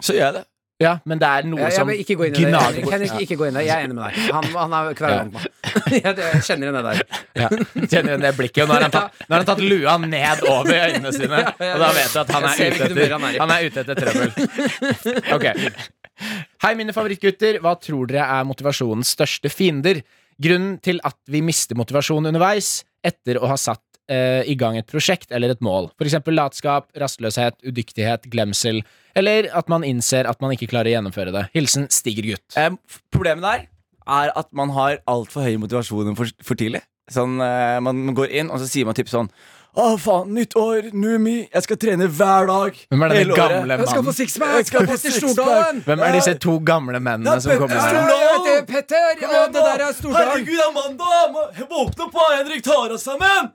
S4: Så gjør jeg det.
S3: Ja, men det er noe
S2: Jeg, jeg
S3: som
S2: vil ikke gå inn i det.
S3: gnager
S2: Henrik, Henrik, ikke gå inn i det. Jeg er enig med deg. Han, han er kverulant nå. Jeg, jeg kjenner henne der.
S3: Ja. Kjenner igjen det blikket, og nå har han tatt, nå har han tatt lua ned over øynene sine.
S2: Ja, ja, ja.
S3: Og da vet du at han
S2: Jeg
S3: er
S2: ser
S3: ute
S2: hvilket
S3: etter,
S2: humør han er i.
S3: han er ute etter trøbbel. Ok. Hei, mine favorittgutter. Hva tror dere er motivasjonens største fiender? Grunnen til at vi mister motivasjon underveis etter å ha satt eh, i gang et prosjekt eller et mål. For eksempel latskap, rastløshet, udyktighet, glemsel. Eller at man innser at man ikke klarer å gjennomføre det. Hilsen Stiger-gutt.
S4: Eh, f- problemet der er at man har altfor høy motivasjon for, for tidlig. Sånn, eh, man, man går inn, og så sier man typ sånn Å, faen, nytt år, new me, jeg skal trene hver dag.
S3: Hvem er
S4: hele
S3: denne
S4: året.»
S3: gamle mannen?
S2: sixpack! Jeg skal på
S4: Petter
S2: Stordalen!
S3: Hvem er disse to gamle mennene som kommer her?
S2: Petter!
S4: Kom igjen, da! Herregud, det er mandag! Må- Våkne opp, da! Henrik, tar oss sammen!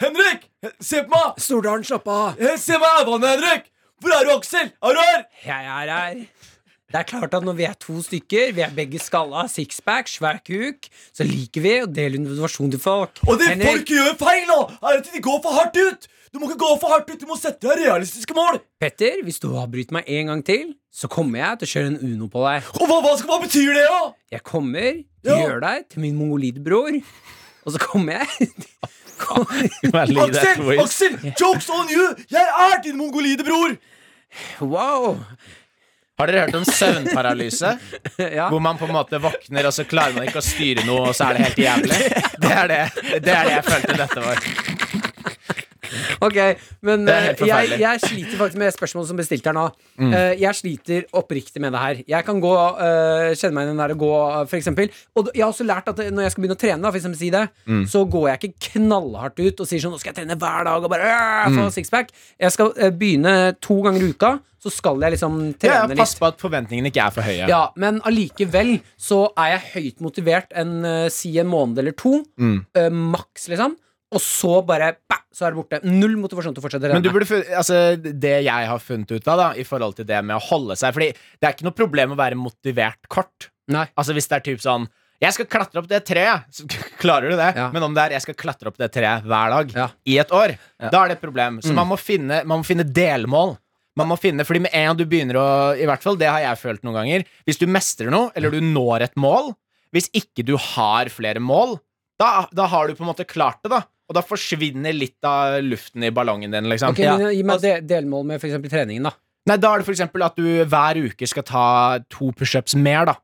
S4: Henrik! Se på meg!
S2: Stordalen, slapp av!
S4: Eh, Se meg i øynene, Henrik! Hvor er du, Aksel? Er du her?
S2: Jeg er her. Det er klart at når vi er to stykker, vi er begge skalla, sixpack, svær kuk, så liker vi å dele motivasjon til folk.
S4: Og det
S2: Henrik,
S4: folk gjør feil nå, er at de går for hardt ut! Du må ikke gå for hardt ut, du må sette deg realistiske mål!
S2: Petter, hvis du avbryter meg en gang til, så kommer jeg til å kjøre en Uno på deg.
S4: Og hva, hva, skal, hva betyr det, da?
S2: Jeg kommer til å
S4: Ja.
S2: gjøre deg til min mongolidbror, og så kommer jeg
S4: Aksel! Aksel! Jokes on you! Jeg er din mongolide bror!
S2: Wow!
S3: Har dere hørt om søvnparalyse?
S2: Ja.
S3: Hvor man på en måte våkner, og så klarer man ikke å styre noe, og så er det helt jævlig. Det er det, det, er det jeg følte dette var.
S2: Ok, men
S3: Det er helt
S2: eh, jeg,
S3: forferdelig. Mm.
S2: jeg sliter faktisk med spørsmålet som bestilte her nå. Eh, jeg sliter oppriktig med det her. Jeg kan gå, eh, kjenne meg igjen i den der å gå, eh, for eksempel. Og d- jeg har også lært at eh, når jeg skal begynne å trene, da, for eksempel si det,
S3: Mm.
S2: så går jeg ikke knallhardt ut og sier sånn 'Nå skal jeg trene hver dag' og bare øh,
S3: Mm.
S2: få sixpack. Jeg skal eh, begynne to ganger i uka, så skal jeg liksom
S3: Ja,
S2: trene litt.
S3: pass på at forventningene ikke er for høye.
S2: Ja, men allikevel så er jeg høyt motivert en, eh, si en måned eller to,
S3: Mm.
S2: eh, maks, liksom. Og så bare bah, så er det borte. Null motivasjon til å fortsette å
S3: Men du
S2: trene.
S3: burde, fun- altså, det jeg har funnet ut av da, i forhold til det med å holde seg Fordi det er ikke noe problem å være motivert kort.
S2: Nei.
S3: Altså Hvis det er typ sånn Jeg skal klatre opp det treet, så klarer du det.
S2: Ja.
S3: Men om det er jeg skal klatre opp det treet hver dag
S2: Ja. Mm.
S3: i et år, da er det et problem. Så man, må finne, man må finne delmål. Man må finne, fordi med en gang du begynner å I hvert fall, det har jeg følt noen ganger. Hvis du mestrer noe, eller du når et mål Hvis ikke du har flere mål, da, da har du på en måte klart det, da. Og da forsvinner litt av luften i ballongen din, liksom.
S2: Ok, men Gi meg de delmål med f.eks. treningen, da.
S3: Nei, da er det for eksempel at du hver uke skal ta to pushups mer, da.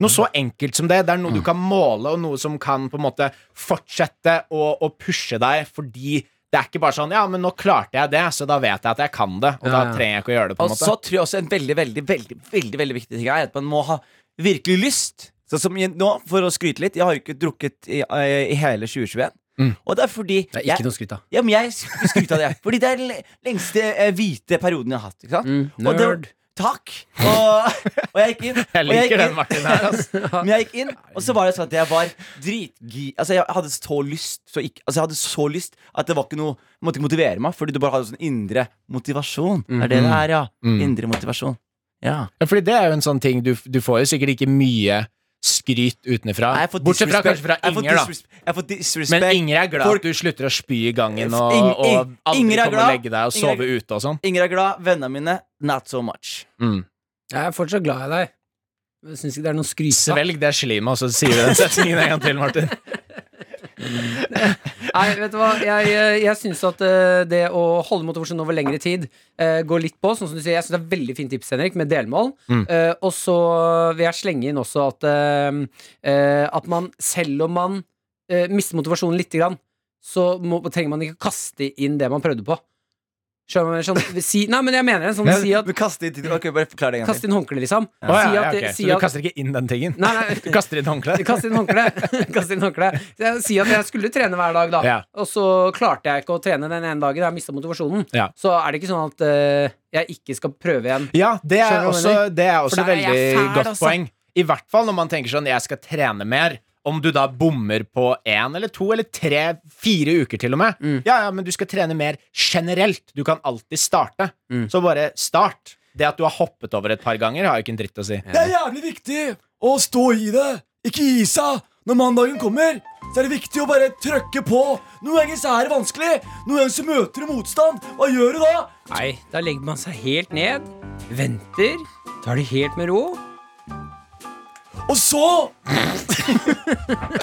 S3: Noe så enkelt som det. Det er noe du kan måle, og noe som kan på en måte fortsette å, å pushe deg, fordi det er ikke bare sånn Ja, men nå klarte jeg det, så da vet jeg at jeg kan det, og
S2: Ja,
S3: da
S2: ja.
S3: trenger jeg ikke å gjøre det, på en
S4: Og
S3: måte.
S4: så tror jeg også en veldig, veldig, veldig, veldig, veldig viktig ting er at man må ha virkelig lyst. Sånn som jeg- nå, for å skryte litt, jeg har jo ikke drukket i, eh, i hele 2021. Og det er fordi
S2: Det er ikke
S4: jeg,
S2: noe å skryte av.
S4: ja, men jeg skryter av det. Fordi det er den le- lengste eh, hvite perioden jeg har hatt. Ikke sant?
S2: Mm,
S4: Og det-
S2: nerd.
S4: Takk. Og, og jeg gikk inn.
S3: Jeg
S4: og
S3: liker
S4: gikk
S3: den
S4: inn-
S3: Martin her, altså.
S4: Men jeg gikk inn, og så var det sånn at jeg var dritgi... Altså, jeg hadde så lyst så ikke, Altså, jeg hadde så lyst at det var ikke noe Jeg måtte ikke motivere meg, fordi du bare hadde sånn indre motivasjon. Det er det
S3: Mhm.
S4: det er, ja.
S3: Mm.
S4: Indre motivasjon. Ja.
S3: Ja, Fordi det er jo en sånn ting du, du får jo sikkert ikke mye skryt utenfra.
S4: Nei, jeg får
S3: Bortsett fra
S4: disrespect.
S3: kanskje fra
S4: Jeg får
S3: Inger, da.
S4: disres- Jeg får disrespect.
S3: Men Inger er glad
S4: Folk-
S3: at du slutter å spy i gangen og,
S4: Ing-
S3: og
S4: Ing-
S3: aldri
S4: Inger er
S3: kommer å
S4: glad.
S3: legge deg og
S4: Inger er-
S3: sove ute og sånn.
S4: Inger er glad. Vennene mine, not so much.
S3: Mm.
S2: Jeg er fortsatt glad i deg. Men Jeg syns ikke det er noe å skryte av.
S3: Svelg det slimet, og så sier vi den setningen en gang til, Martin.
S2: Nei, vet du hva, jeg, eh, jeg syns at eh, det å holde motivasjonen over lengre tid eh, går litt på. Sånn som du sier, jeg syns det er veldig fint tips, Henrik, med delmål. Eh, og så vil jeg slenge inn også at eh, eh, at man, selv om man eh, mister motivasjonen lite grann, så må, trenger man ikke kaste inn det man prøvde på. Skjønner du? hva jeg mener? Sånn, si, nei, men jeg mener det. Sånn, si at
S4: Men kast det i tiden. Ok, bare forklar det en gang
S2: Kast
S4: til.
S2: inn håndkle, liksom.
S3: Å, ja,
S2: Si
S3: ja,
S2: at,
S3: ok.
S2: si
S3: Så du
S2: at,
S3: kaster ikke inn den tingen?
S2: Nei, nei.
S3: Du kaster inn håndkleet?
S2: Kast inn håndkle. Kast inn håndkle. Så jeg- Si at jeg skulle trene hver dag, da.
S3: Ja.
S2: Og så klarte jeg ikke å trene den ene dagen. Jeg mista motivasjonen.
S3: Ja.
S2: Så er det ikke sånn at eh, jeg ikke skal prøve igjen.
S3: Ja, det er
S2: Skjønner du hva jeg
S3: også, det er også
S2: For da er jeg
S3: veldig
S2: fæl,
S3: godt
S2: altså.
S3: poeng. I hvert fall når man tenker sånn Jeg skal trene mer. Om du da bommer på én eller to eller tre, fire uker til og med.
S2: Mm.
S3: Ja, ja, men du skal trene mer generelt. Du kan alltid starte.
S2: Mm.
S3: Så bare start. Det at du har hoppet over et par ganger, har jo ikke en dritt å si.
S4: Det er jævlig viktig å stå i det, ikke gi seg. Når mandagen kommer, så er det viktig å bare trøkke på. Noen ganger så er det vanskelig, noen ganger så møter du motstand. Hva gjør du da?
S2: Nei, da legger man seg helt ned, venter, tar det helt med ro.
S4: Og så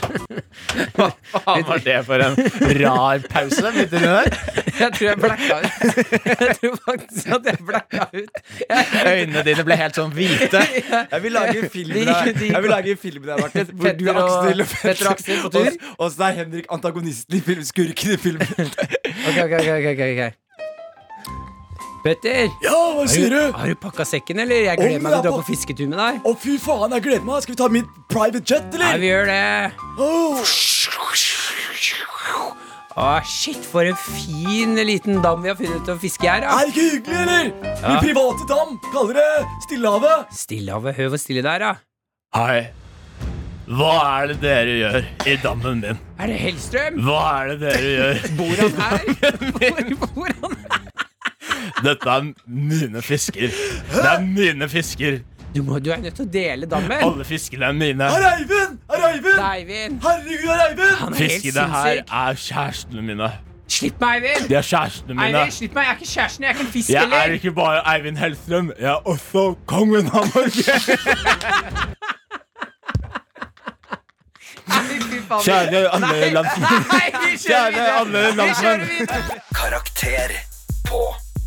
S3: Hva faen var det for en rar pause midt inni der?
S2: Jeg tror jeg blacka ut. Jeg tror faktisk at jeg blacka ut. Jeg,
S3: Øynene dine ble helt sånn hvite.
S4: Jeg vil lage en film med
S2: De-
S4: deg,
S2: de-
S4: Jeg vil lage en film med deg Martin. Hvor du,
S2: Petter og-
S4: Aksel og
S2: Petter og Aksel på tur.
S4: Og, og så er Henrik antagonisten i filmen. Skurken i filmen.
S2: ok, ok, ok, ok, ok, ok. Petter,
S4: Ja, hva sier du?
S2: har du pakka sekken, eller? Jeg
S4: Om
S2: gleder meg til å
S4: jeg
S2: dra
S4: har
S2: på fisketur med deg.
S4: Å, fy faen, jeg gleder meg. Skal vi ta min private jet,
S2: Ja,
S4: eller?
S2: vi gjør det.
S4: Åh.
S2: Å, shit, for en fin liten dam vi har funnet til å fiske
S4: Er
S2: her. Ja.
S4: det ikke hyggelig, eller? Min private dam. Kaller det Stillehavet.
S2: Stillehavet, høv og stille der, ja.
S3: Hei. Hva er det dere gjør i dammen min?
S2: Er det Hellstrøm?
S3: Hva er det dere gjør?
S2: Bor han her? Bor, bor han her?
S3: Dette er mine fisker. Det er mine fisker.
S2: Du, må, du er nødt til å dele dammen.
S3: Alle fiskene er mine.
S4: Herr Eivind! Herr Eivind!
S2: Eivind!
S4: Herregud, herr Eivind!
S2: Han er helt
S3: Fiskene her
S2: sinnssyk.
S3: er kjærestene mine.
S2: Slipp meg, Eivind!
S3: De er kjærestene mine.
S2: Eivind, slipp meg. Jeg er ikke kjæresten, jeg er ikke en fisk
S3: Jeg er
S2: heller.
S3: ikke bare Eivind Hellstrøm, jeg er også kongen av Norge.
S2: Nei, fy faen.
S3: Kjære andre land.
S2: Nei, vi kjører
S3: Kjære
S2: videre.
S3: andre
S2: Vi kjører
S3: landsmenn.
S2: videre.
S5: Karakter på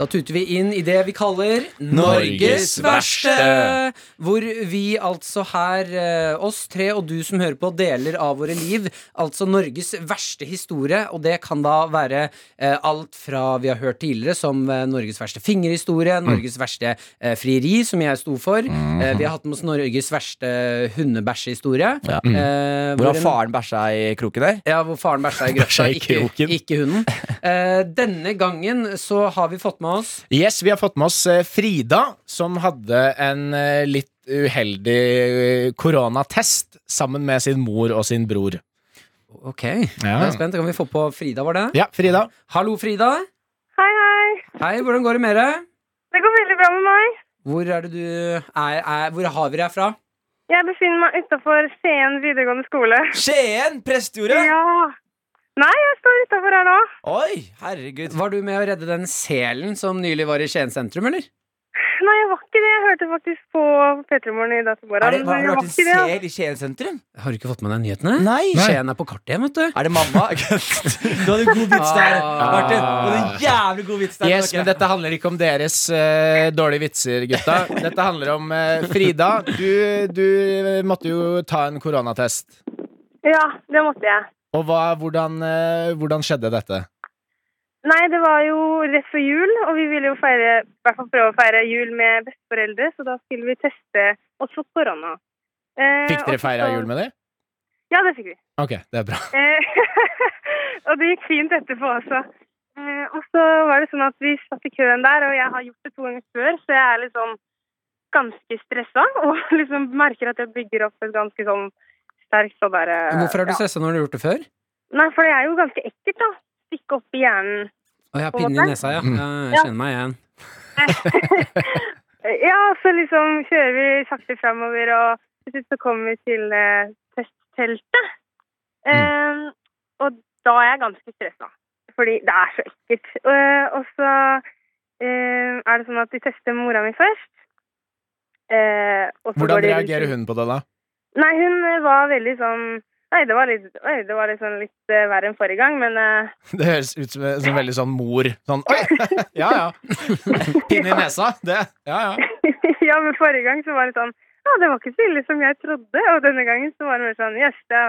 S2: Da tuter vi inn i det vi kaller Norges
S3: Norges
S2: verste.
S3: verste.
S2: Hvor vi altså her, eh, oss tre og du som hører på, deler av våre liv. Altså Norges verste historie, og det kan da være eh, alt fra vi har hørt tidligere, som eh, Norges verste fingerhistorie,
S3: Mm.
S2: Norges verste eh, frieri, som jeg sto for.
S3: Mm-hmm.
S2: Eh, vi har hatt med oss Norges verste eh, hundebæsjehistorie.
S4: Ja. Hvor
S2: eh, hvor
S4: har
S2: en-
S4: faren bæsja i kroken der?
S2: ja, hvor faren bæsja i grøfta,
S3: Mm. Bæsja i
S2: ikke,
S3: kroken.
S2: ikke hunden. Eh, denne gangen så har vi fått med oss
S3: Yes, vi har fått med oss eh, Frida, som hadde en eh, litt uheldig eh, koronatest sammen med sin mor og sin bror.
S2: Ok, jeg er spent. Kan vi få på Frida, var det?
S3: Ja, Frida.
S2: Hallo, Frida.
S6: Hei, hei.
S2: Hei, hvordan går det med deg?
S6: Det går veldig bra med meg.
S2: Hvor er det du er, er Hvor har vi deg fra?
S6: Jeg befinner meg utafor Skien videregående skole.
S4: Skien prestejordet!
S6: Ja. Nei, jeg står utafor her nå.
S4: Oi, herregud.
S2: Var du med å redde den selen som nylig var i Skien sentrum, eller?
S6: Nei, jeg var ikke det. Jeg hørte faktisk på P3 Morgen i dag til
S4: Er det, har
S6: morgen. men
S4: det vært
S6: jeg var
S4: en
S6: ikke det. altså.
S4: sel i Skien sentrum?
S2: Har du ikke fått med deg nyhetene?
S4: Nei.
S2: Skien er på kartet igjen, vet du.
S4: Er det mamma? du hadde en god vits der, Martin. Du hadde en jævlig god vits der.
S3: Ah. Yes, men dette handler ikke om deres eh, dårlige vitser, gutta. Dette handler om eh, Frida. Du, du måtte jo ta en koronatest.
S6: Ja, det måtte jeg.
S3: Og hva, hvordan, eh, hvordan skjedde dette?
S6: Nei, det var jo rett før jul, og vi ville jo feire, i hvert fall prøve å feire jul med besteforeldre, så da skulle vi teste oss for korona. Eh, Altså,
S3: Fikk
S6: og
S3: dere
S6: så-
S3: feira jul med dem?
S6: Ja, det fikk vi.
S3: Ok, det er bra.
S6: Eh, og det gikk fint etterpå også. Eh, og så var det sånn at vi satt i køen der, og jeg har gjort det to ganger før, så jeg er liksom ganske stressa og liksom merker at jeg bygger opp et ganske sånn sterkt sånn derre
S2: Hvorfor er du stressa når du har gjort det før?
S6: Ja. Nei, for det er jo ganske ekkelt, da. Stikke opp i hjernen.
S2: Å, jeg har
S6: På
S2: pinnen i
S6: måte.
S2: nesa, ja.
S3: Mm.
S2: ja jeg
S6: Ja.
S2: kjenner meg igjen.
S6: Eh, ja, så liksom kjører vi sakte framover, og til slutt så kommer vi til eh, testteltet.
S3: Mm.
S6: Eh, og da er jeg ganske stressa, fordi det er så ekkelt. Eh, og så eh, er det sånn at de tester mora mi først. Eh, og så går
S3: Hvordan
S6: de rundt-
S3: reagerer hun på det, da?
S6: Nei, hun eh, var veldig sånn Nei, det var litt, oi, det var litt, sånn litt eh, verre enn forrige gang, men eh,
S3: Det høres ut som, som veldig sånn mor. Sånn Oi! Ja ja. Pinne i nesa. Det. Ja ja.
S6: ja, men forrige gang så var det sånn Ja, det var ikke så ille som jeg trodde. Og denne gangen så var det mer sånn Jøss, det,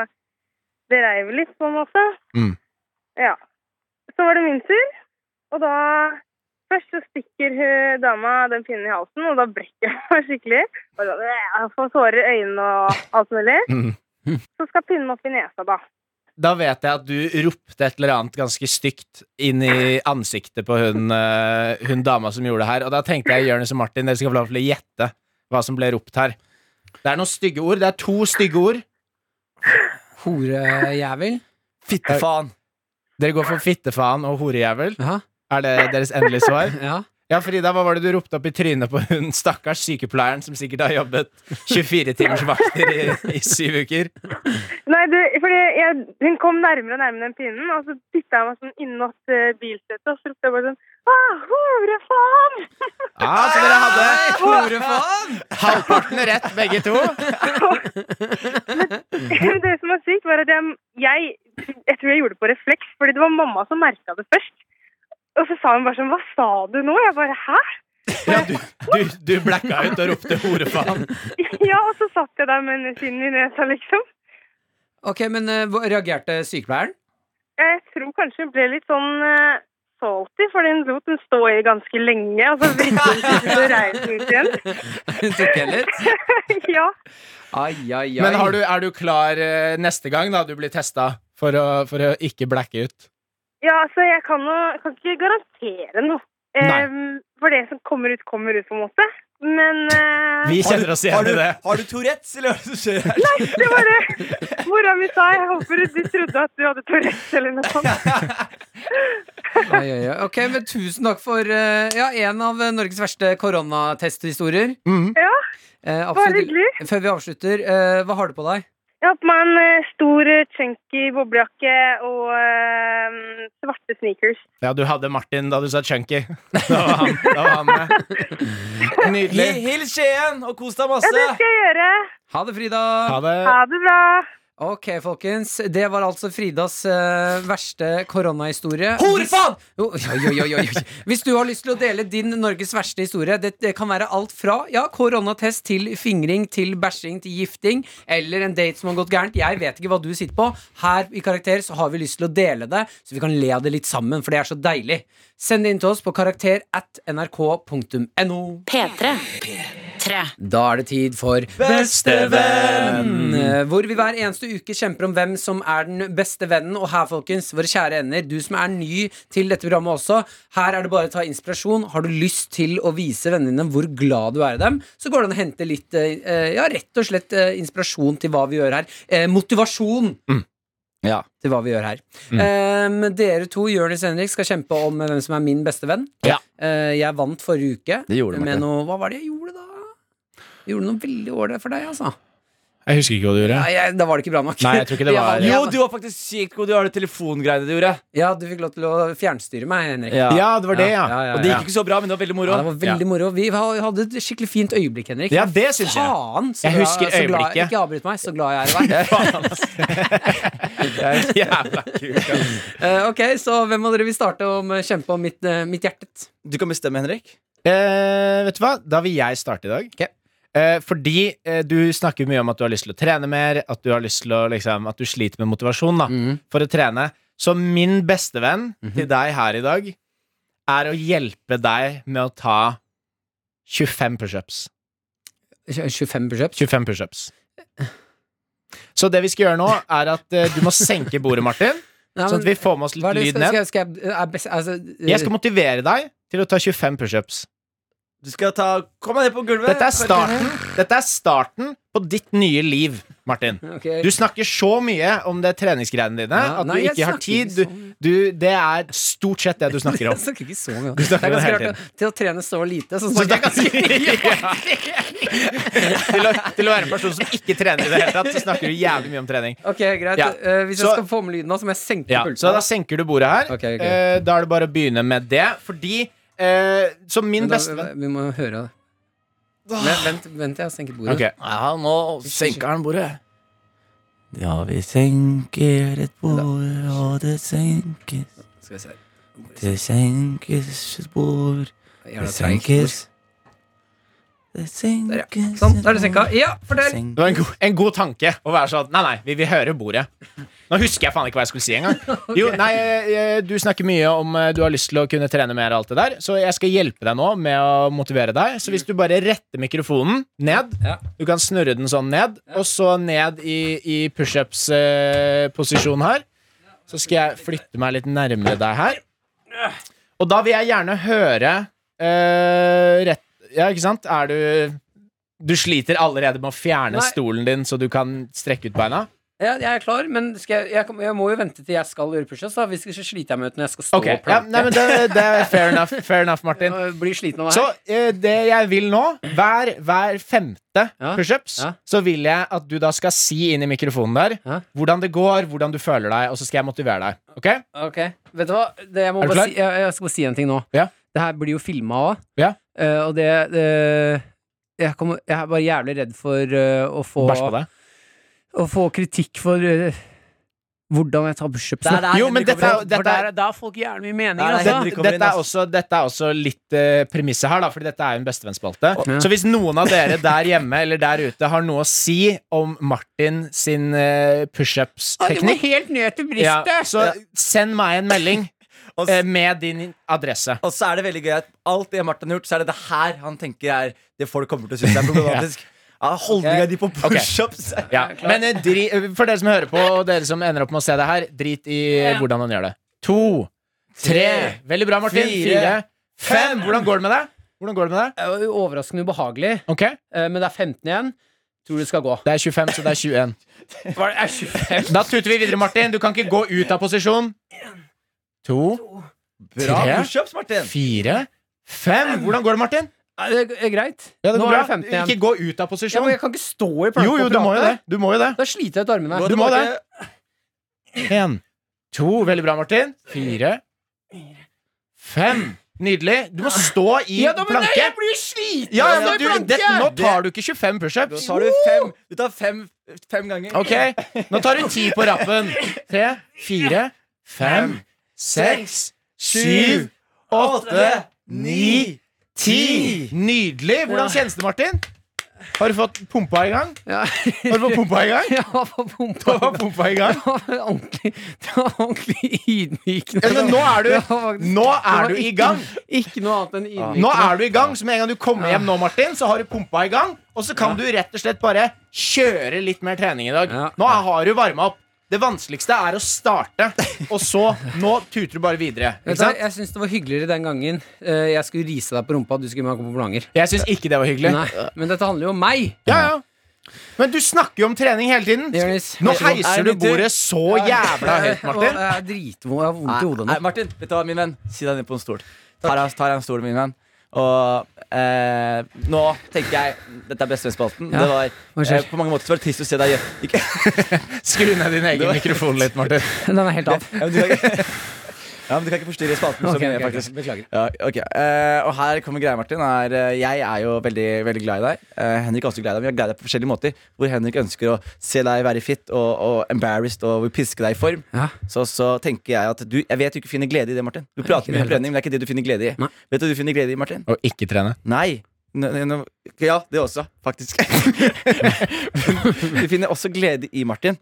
S6: det reiv litt, på en måte.
S3: Mm.
S6: Ja. Så var det min tur, og da Først så stikker hun dama den pinnen i halsen, og da brekker jeg meg skikkelig. Og da, jeg får tårer i øynene og alt mulig.
S3: Mm.
S6: Så skal pinnen opp i nesa, da.
S3: Da vet jeg at du ropte et eller annet ganske stygt inn i ansiktet på hun, eh, hun dama som gjorde det her. Og da tenkte jeg Jonis og Martin, dere skal få lov til å gjette hva som ble ropt her. Det er noen stygge ord. Det er to stygge ord.
S2: Horejævel.
S4: Fitte faen.
S3: Dere går for fittefaen og horejævel.
S2: Ja.
S3: Er det deres endelige svar?
S2: ja.
S3: Ja, Frida, hva var det du ropte opp i trynet på hun stakkars sykepleieren som sikkert har jobbet 24 timers vakter i, i syv uker?
S6: Nei, du, fordi jeg, hun kom nærmere og nærmere den pinnen, og så dytta jeg meg sånn innåt eh, bilsetet, og så ropte jeg bare sånn ah, hore faen!
S3: Ja, så dere hadde
S2: Horefaen!
S3: halvparten rett, begge to.
S6: Men det som var sykt, var at jeg, jeg, jeg tror jeg gjorde det på refleks, fordi det var mamma som merka det først. Og så sa hun bare sånn Hva sa du nå? Jeg bare Hæ?
S3: Ja, du, du, du blacka ut og ropte 'horefaen'.
S6: Ja, og så satt jeg der med pinnen i nesa, liksom.
S2: Ok, men eh, hvor- reagerte sykepleieren?
S6: Jeg tror kanskje hun ble litt sånn eh, salty, fordi hun lot den stå i ganske lenge, og så vridde hun seg ut og reiv den ut igjen.
S2: Hun tok heller.
S6: ja.
S2: Ai, ai, ai.
S3: Men har du, er du klar eh, neste gang da du blir testa for å, for å ikke blacke ut?
S6: Ja, altså, jeg kan, jo, jeg kan ikke garantere noe.
S3: Nei.
S6: Ehm, for det som kommer ut, kommer ut, på en måte. Men eh,
S3: Vi
S4: Har du-
S3: kjenner oss
S4: har
S3: igjen
S4: du-
S3: i det.
S4: Har du Tourettes, eller hva er det som skjer her?
S6: det var det mora mi sa. Jeg håper du trodde at du hadde Tourettes eller noe sånt.
S2: Oi, oi, oi. Ok, men Tusen takk for eh, ja, en av eh, Norges verste koronatesthistorier.
S3: Mhm.
S6: Ja,
S2: Eh,
S6: Bare
S2: absolutt-
S6: hyggelig.
S2: Før vi avslutter, eh, hva har du på deg?
S6: Jeg har på meg en eh, stor, eh, chunky boblejakke og eh, svarte sneakers.
S3: Ja, du hadde Martin da du sa chunky. Da var han, da var han med. Nydelig.
S4: Hil Skien og kos deg
S6: Ja, det
S4: masse!
S6: skal jeg gjøre.
S2: Ha det, Frida!
S3: Ha det.
S6: Ha det bra.
S2: Ok, folkens. Det var altså Fridas eh, verste koronahistorie.
S4: Horefaen!
S2: Jo, oi, oi, oi, oi, oi. Hvis du har lyst til å dele din Norges verste historie, det, det kan være alt fra ja, koronatest til fingring til bæsjing til gifting eller en date som har gått gærent. Jeg vet ikke hva du sitter på. Her i Karakter så har vi lyst til å dele det, så vi kan le av det litt sammen, for det er så deilig. Send det inn til oss på karakter at nrk.no.
S1: P3. P3.
S2: Da er det tid for
S4: Bestevenn!
S2: Eh, Hvor vi hver eneste uke kjemper om hvem som er den beste vennen. Og her, folkens, våre kjære ender, du som er ny til dette programmet også, her er det bare å ta inspirasjon. Har du lyst til å vise vennene dine hvor glad du er i dem, så går det an å hente litt, eh, ja, rett og slett eh, inspirasjon til hva vi gjør her. Eh, Motivasjon
S4: Mm. Ja. Mm.
S2: til hva vi gjør her. Eh, dere to, Jonis Henrik, skal kjempe om eh, hvem som er min beste venn.
S4: Ja.
S2: Eh, jeg vant forrige uke
S4: Det gjorde du,
S2: med
S4: Martin.
S2: noe Hva var det jeg gjorde da? Jeg gjorde noe veldig ålreit for deg, altså.
S3: Jeg husker ikke hva du gjorde.
S2: Nei, jeg, da var det ikke bra nok.
S3: Nei, jeg tror ikke det var-
S2: Jeg
S4: Jo,
S2: vant-
S4: du var faktisk sykt god. Du har det telefongreiene du gjorde.
S2: Ja, du fikk lov til å fjernstyre meg, Henrik.
S4: Ja.
S3: Ja, det var det, ja.
S2: Ja, ja, ja.
S4: Og det gikk ikke så bra, men det var veldig moro.
S2: Ja, det var veldig moro. Vi ha- hadde et skikkelig fint øyeblikk, Henrik.
S3: Ja, det syns jeg.
S2: Faen, så
S3: Jeg
S2: glad-
S3: husker
S2: så glad-
S3: øyeblikket.
S2: Ikke avbryt meg, så glad jeg er i deg.
S3: Jævla kult. ass.
S2: Eh, ok, så hvem av dere vil starte om eh, kjempe om mitt, eh, mitt hjertet?
S4: Du kan bestemme, Henrik.
S3: Eh, vet du hva? Da vil jeg starte i dag. Eh, fordi eh, du snakker mye om at du har lyst til å trene mer, at du, har lyst til å, liksom, at du sliter med motivasjon da,
S2: Mm.
S3: for å trene. Så min bestevenn
S2: Mhm.
S3: til deg her i dag er å hjelpe deg med å ta 25 pushups.
S2: Tj- 25 pushups?
S3: 25 pushups. Så det vi skal gjøre nå, er at eh, du må senke bordet, Martin.
S2: Nei,
S3: Sånn at vi
S2: men
S3: får med oss
S2: hva er
S3: litt
S2: det-
S3: lyd ned.
S2: skal- skal- skal jeg- er best- altså, eh,
S3: Jeg skal motivere deg til å ta 25 pushups.
S4: Du skal ta Kom deg ned på gulvet.
S3: Dette er starten Dette er starten på ditt nye liv, Martin.
S2: eh, ok.
S3: Du snakker så mye om det treningsgreiene dine
S2: Ja,
S3: at du
S2: nei, jeg
S3: ikke har
S2: snakker
S3: tid.
S2: ikke
S3: Du, du, det er stort sett det du snakker
S2: Jeg
S3: om.
S2: snakker ikke så mye. om
S3: Du
S2: det.
S3: snakker
S2: Det er
S3: om det
S2: ganske
S3: hele
S2: rart å- til å trene så lite, så snakker jeg ganske
S3: til, å, til å være en person som ikke trener i det hele tatt, så snakker du jævlig mye om trening.
S2: Ok, greit.
S3: Ja.
S2: Eh, hvis jeg
S3: Så-
S2: skal få med lyden nå, så må jeg senke
S3: Ja,
S2: pulten.
S3: så da senker du bordet her.
S2: Ok, ok.
S3: Eh, da er det bare å begynne med det, fordi eh, Så min
S2: Men da-
S3: bestevenn
S2: Vi må høre det. Vent, vent, vent jeg har senket bordet.
S3: Ah. Ok.
S4: Ja, nå senker han bordet. Ja, vi senker et bord, og det senkes.
S2: Skal vi se.
S4: Det senkes et bord,
S2: Jeg er
S4: det
S2: da treig.
S4: senkes. Det
S2: Der, ja.
S4: senkes
S2: Sånn, da er det senka. Ja,
S4: Det
S3: Det
S2: fortell!
S3: var en god, en god tanke å være sånn Nei, nei, vi vil høre bordet. Nå husker jeg faen ikke hva jeg skulle si engang. Jo, nei, eh, du snakker mye om eh, du har lyst til å kunne trene mer og alt det der, så jeg skal hjelpe deg nå med å motivere deg. Så hvis du bare retter mikrofonen ned,
S2: Ja.
S3: du kan snurre den sånn ned, og så ned i, i pushups-posisjon her, så skal jeg flytte meg litt nærmere deg her. Og da vil jeg gjerne høre eh, rett Ja, ikke sant? Er du du sliter allerede med å fjerne
S2: Nei.
S3: stolen din, så du kan strekke ut beina?
S2: Ja, jeg er klar, men skal jeg, jeg, kan- jeg må jo vente til jeg skal gjøre pushups. da. Hvis ikke så sliter jeg meg ut når jeg skal stå
S3: Ok,
S2: og
S3: ja,
S2: planke.
S3: nei, men det, det er fair enough, fair enough Martin.
S2: Jeg Blir sliten av det
S3: Så
S2: her.
S3: eh, det jeg vil nå, hver, hver femte
S2: Ja,
S3: pushups,
S2: ja.
S3: så vil jeg at du da skal si inn i mikrofonen der
S2: Ja.
S3: hvordan det går, hvordan du føler deg, og så skal jeg motivere deg. Ok?
S2: Ok, vet du hva? Det, jeg,
S3: Er
S2: må
S3: du
S2: bare
S3: klar?
S2: si, jeg, jeg skal bare si en ting nå.
S3: Ja.
S2: Det her blir jo filma òg,
S3: Ja.
S2: og det eh, jeg, kommer, jeg er bare jævlig redd for eh, å, få,
S3: Bæsj på deg.
S2: å få kritikk for eh, hvordan jeg tar pushups. nå.
S3: Jo, men dette er- dette
S2: For der,
S3: er-
S2: da har folk jævlig mye meninger,
S4: Der er
S2: altså.
S4: Henrik- kommer inn,
S3: Dette er,
S4: ass.
S3: også, dette er også litt eh, premisset her, da, fordi dette er jo en bestevennsspalte.
S2: Ja.
S3: Så hvis noen av dere der hjemme eller der ute har noe å si om Martin sin eh, pushups-teknikk
S2: helt ned til
S3: Ja, så send meg en melding
S4: Og,
S3: eh,
S4: s-
S3: med din adresse.
S4: og så er det veldig gøy at alt det Martin har gjort, så er det det her han tenker er det folk kommer til å synes er problematisk. ja, Holdninga di på pushups.
S3: Ja. Men eh, dri, eh, for dere som hører på, og dere som ender opp med å se det her, drit i eh, hvordan han gjør det. To, tre Veldig bra, Martin. Fire,
S4: Fire.
S3: fem. Hvordan går det med deg? Hvordan går det med deg?
S2: Overraskende ubehagelig,
S3: Ok,
S2: eh, men det er 15 igjen. Tror det skal gå.
S3: Det er 25, så det er 21.
S2: Var det er 25?
S3: Da tuter vi videre, Martin. Du kan ikke gå ut av posisjon. To,
S4: Bra
S3: Tre.
S4: pushups, Martin!
S3: Fire, fem. Hvordan går det, Martin?
S2: Ja, det er greit.
S3: Ja, det
S2: Nå
S3: går
S2: er
S3: bra.
S2: jeg 15 igjen.
S3: Ikke gå ut av
S2: Ja,
S3: posisjon.
S2: men jeg kan ikke stå i planken
S3: Jo, jo,
S2: og
S3: du må jo
S2: prate.
S3: det. Du må jo det.
S2: Da sliter jeg ut armene.
S4: Gå
S3: Du må
S4: tilbake.
S3: det. Én, to. Veldig bra, Martin. Fire, fem. Nydelig. Du må stå i
S2: Ja, da, men nei,
S3: planke.
S2: jeg blir jo
S3: Ja,
S2: sliten!
S3: ja,
S2: av å
S3: men
S2: stå i
S3: du, det, nå
S2: planke!
S3: tar du ikke 25
S4: Da
S3: pushups.
S4: tar du fem. Du tar fem, fem ganger.
S3: Ok, nå tar du ti på rappen. Tre, fire, fem, seks, syv, åtte, ni, ti. Nydelig. Hvordan kjennes det, Martin? Har du fått pumpa i gang?
S2: Ja.
S3: Har du fått pumpa i gang?
S2: Ja, på
S3: Du
S2: pumpa.
S3: har pumpa i gang.
S2: Det var ordentlig, det var ordentlig ydmykende.
S3: Ja, men nå er
S2: Det
S3: du,
S2: var faktisk-
S3: nå
S2: det var
S3: er du i
S2: ikke-
S3: gang.
S2: Ikke noe annet enn ydmykende.
S3: Nå er du i gang, så med en gang du kommer hjem nå, Martin, så har du pumpa i gang. Og så kan du rett og slett bare kjøre litt mer trening i dag.
S2: Ja.
S3: Nå har du varma opp. Det vanskeligste er å starte, og så Nå tuter du bare videre.
S2: Vet
S3: Ikke
S2: du hva,
S3: sant?
S2: jeg syns det var hyggeligere den gangen eh, jeg skulle rise deg på rumpa, og du skulle gi meg komplimenter.
S3: Jeg syns ikke det var hyggelig.
S2: Nei, men dette handler jo om meg.
S3: Ja, ja. Men du snakker jo om trening hele tiden.
S2: Jonis,
S3: Nå
S2: vær så god.
S3: heiser du bordet så jævla høyt,
S2: Å,
S3: Martin.
S2: Jeg er dritvond. Jeg har vondt i hodet
S4: Nei,
S2: nå.
S4: Martin, vet du hva, min venn? Si deg ned på en stol. Tar jeg, tar jeg en stol, min venn. Og eh, nå tenker jeg Dette er Bestevennsspalten.
S2: Ja.
S4: Det var
S2: Hva skjer?
S4: eh, På mange måter så var det trist å se deg gjø- ikke-
S3: Skru ned din egen mikrofon litt, Martin.
S2: Den er helt av.
S4: ja, men du kan ikke Ja, men du kan ikke forstyrre spalten. så
S2: Ok,
S4: mye,
S2: ok, ok.
S4: faktisk.
S2: Beklager.
S4: Ja, ok. Eh, og her kommer greia, Martin. Er, eh, jeg er jo veldig, veldig glad i deg. Eh, Henrik er også glad i deg. Vi er glad i deg på forskjellige måter. Hvor Henrik ønsker å se deg være fit og, og embarrassed og vil piske deg i form.
S2: Ja.
S4: Så, så tenker jeg at du Jeg vet du ikke finner glede i det, Martin. Du
S2: ikke
S4: prater
S2: i det
S4: mye om
S2: hele
S4: trening, men det er ikke det du finner glede i.
S2: Nei.
S4: Vet du hva du finner glede i, Martin?
S3: Og ikke trene.
S4: Nei. N- n- n- ja, det også, faktisk. du finner også glede i, Martin,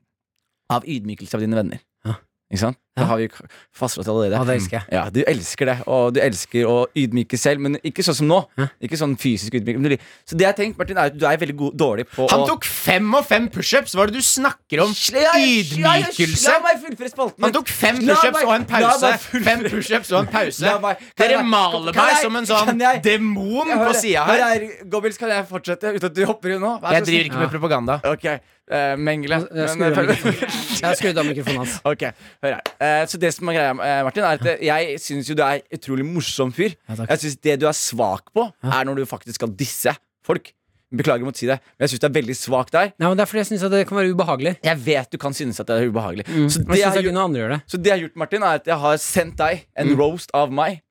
S4: av ydmykelse av dine venner.
S2: Ja.
S4: Ikke sant? Det har vi k- fastslått allerede.
S2: Ja, det elsker jeg.
S4: Ja, du elsker det, og du elsker å ydmyke selv, men ikke sånn som nå. Ikke sånn fysisk ydmyk. men du- Så det jeg tenkte, Martin, er at du er veldig god, dårlig på
S3: Han
S4: å
S3: tok fem og fem pushups. Hva er det du snakker om?
S4: Sl- ja, ja,
S3: Ydmykelse?
S4: La meg fullføre spalten.
S3: Han tok fem
S4: La
S3: pushups
S4: meg-
S3: og en
S4: la
S3: pause.
S4: meg fullføre-
S3: Fem pushups og en pause.
S4: La meg- kan
S3: Dere
S4: jeg-
S3: maler
S4: kan
S3: meg
S4: jeg-
S3: som en
S4: kan
S3: sånn
S4: jeg-
S3: demon
S4: Jeg
S3: på
S4: hører-
S3: sida her.
S4: Hør her, Gobbels, kan jeg fortsette uten at du hopper inn nå? Vær så
S3: Jeg
S4: snill.
S3: driver ikke med propaganda.
S4: Ok, eh, Mengele.
S2: Jeg
S4: Men,
S2: skrur av
S4: eh,
S2: mikrofonen. Jeg har skrudd av mikrofonen hans.
S4: Ok, hør her Eh, Så det som er greia, eh, Martin, er at eh, jeg syns jo du er utrolig morsom fyr.
S2: takk.
S4: jeg synes Det du er svak på, er når du faktisk skal disse folk. Beklager mot å si det, men jeg syns det er veldig svakt der.
S2: Nei, men Det er fordi jeg syns det kan være ubehagelig.
S4: Jeg vet du kan synes at det er ubehagelig. Så,
S2: Mm. Men
S4: det jeg
S2: jeg synes
S4: har
S2: jeg
S4: gjort,
S2: kunne andre gjøre det.
S4: så det jeg har gjort, Martin, er at jeg har sendt deg en roast av meg.
S2: Mm.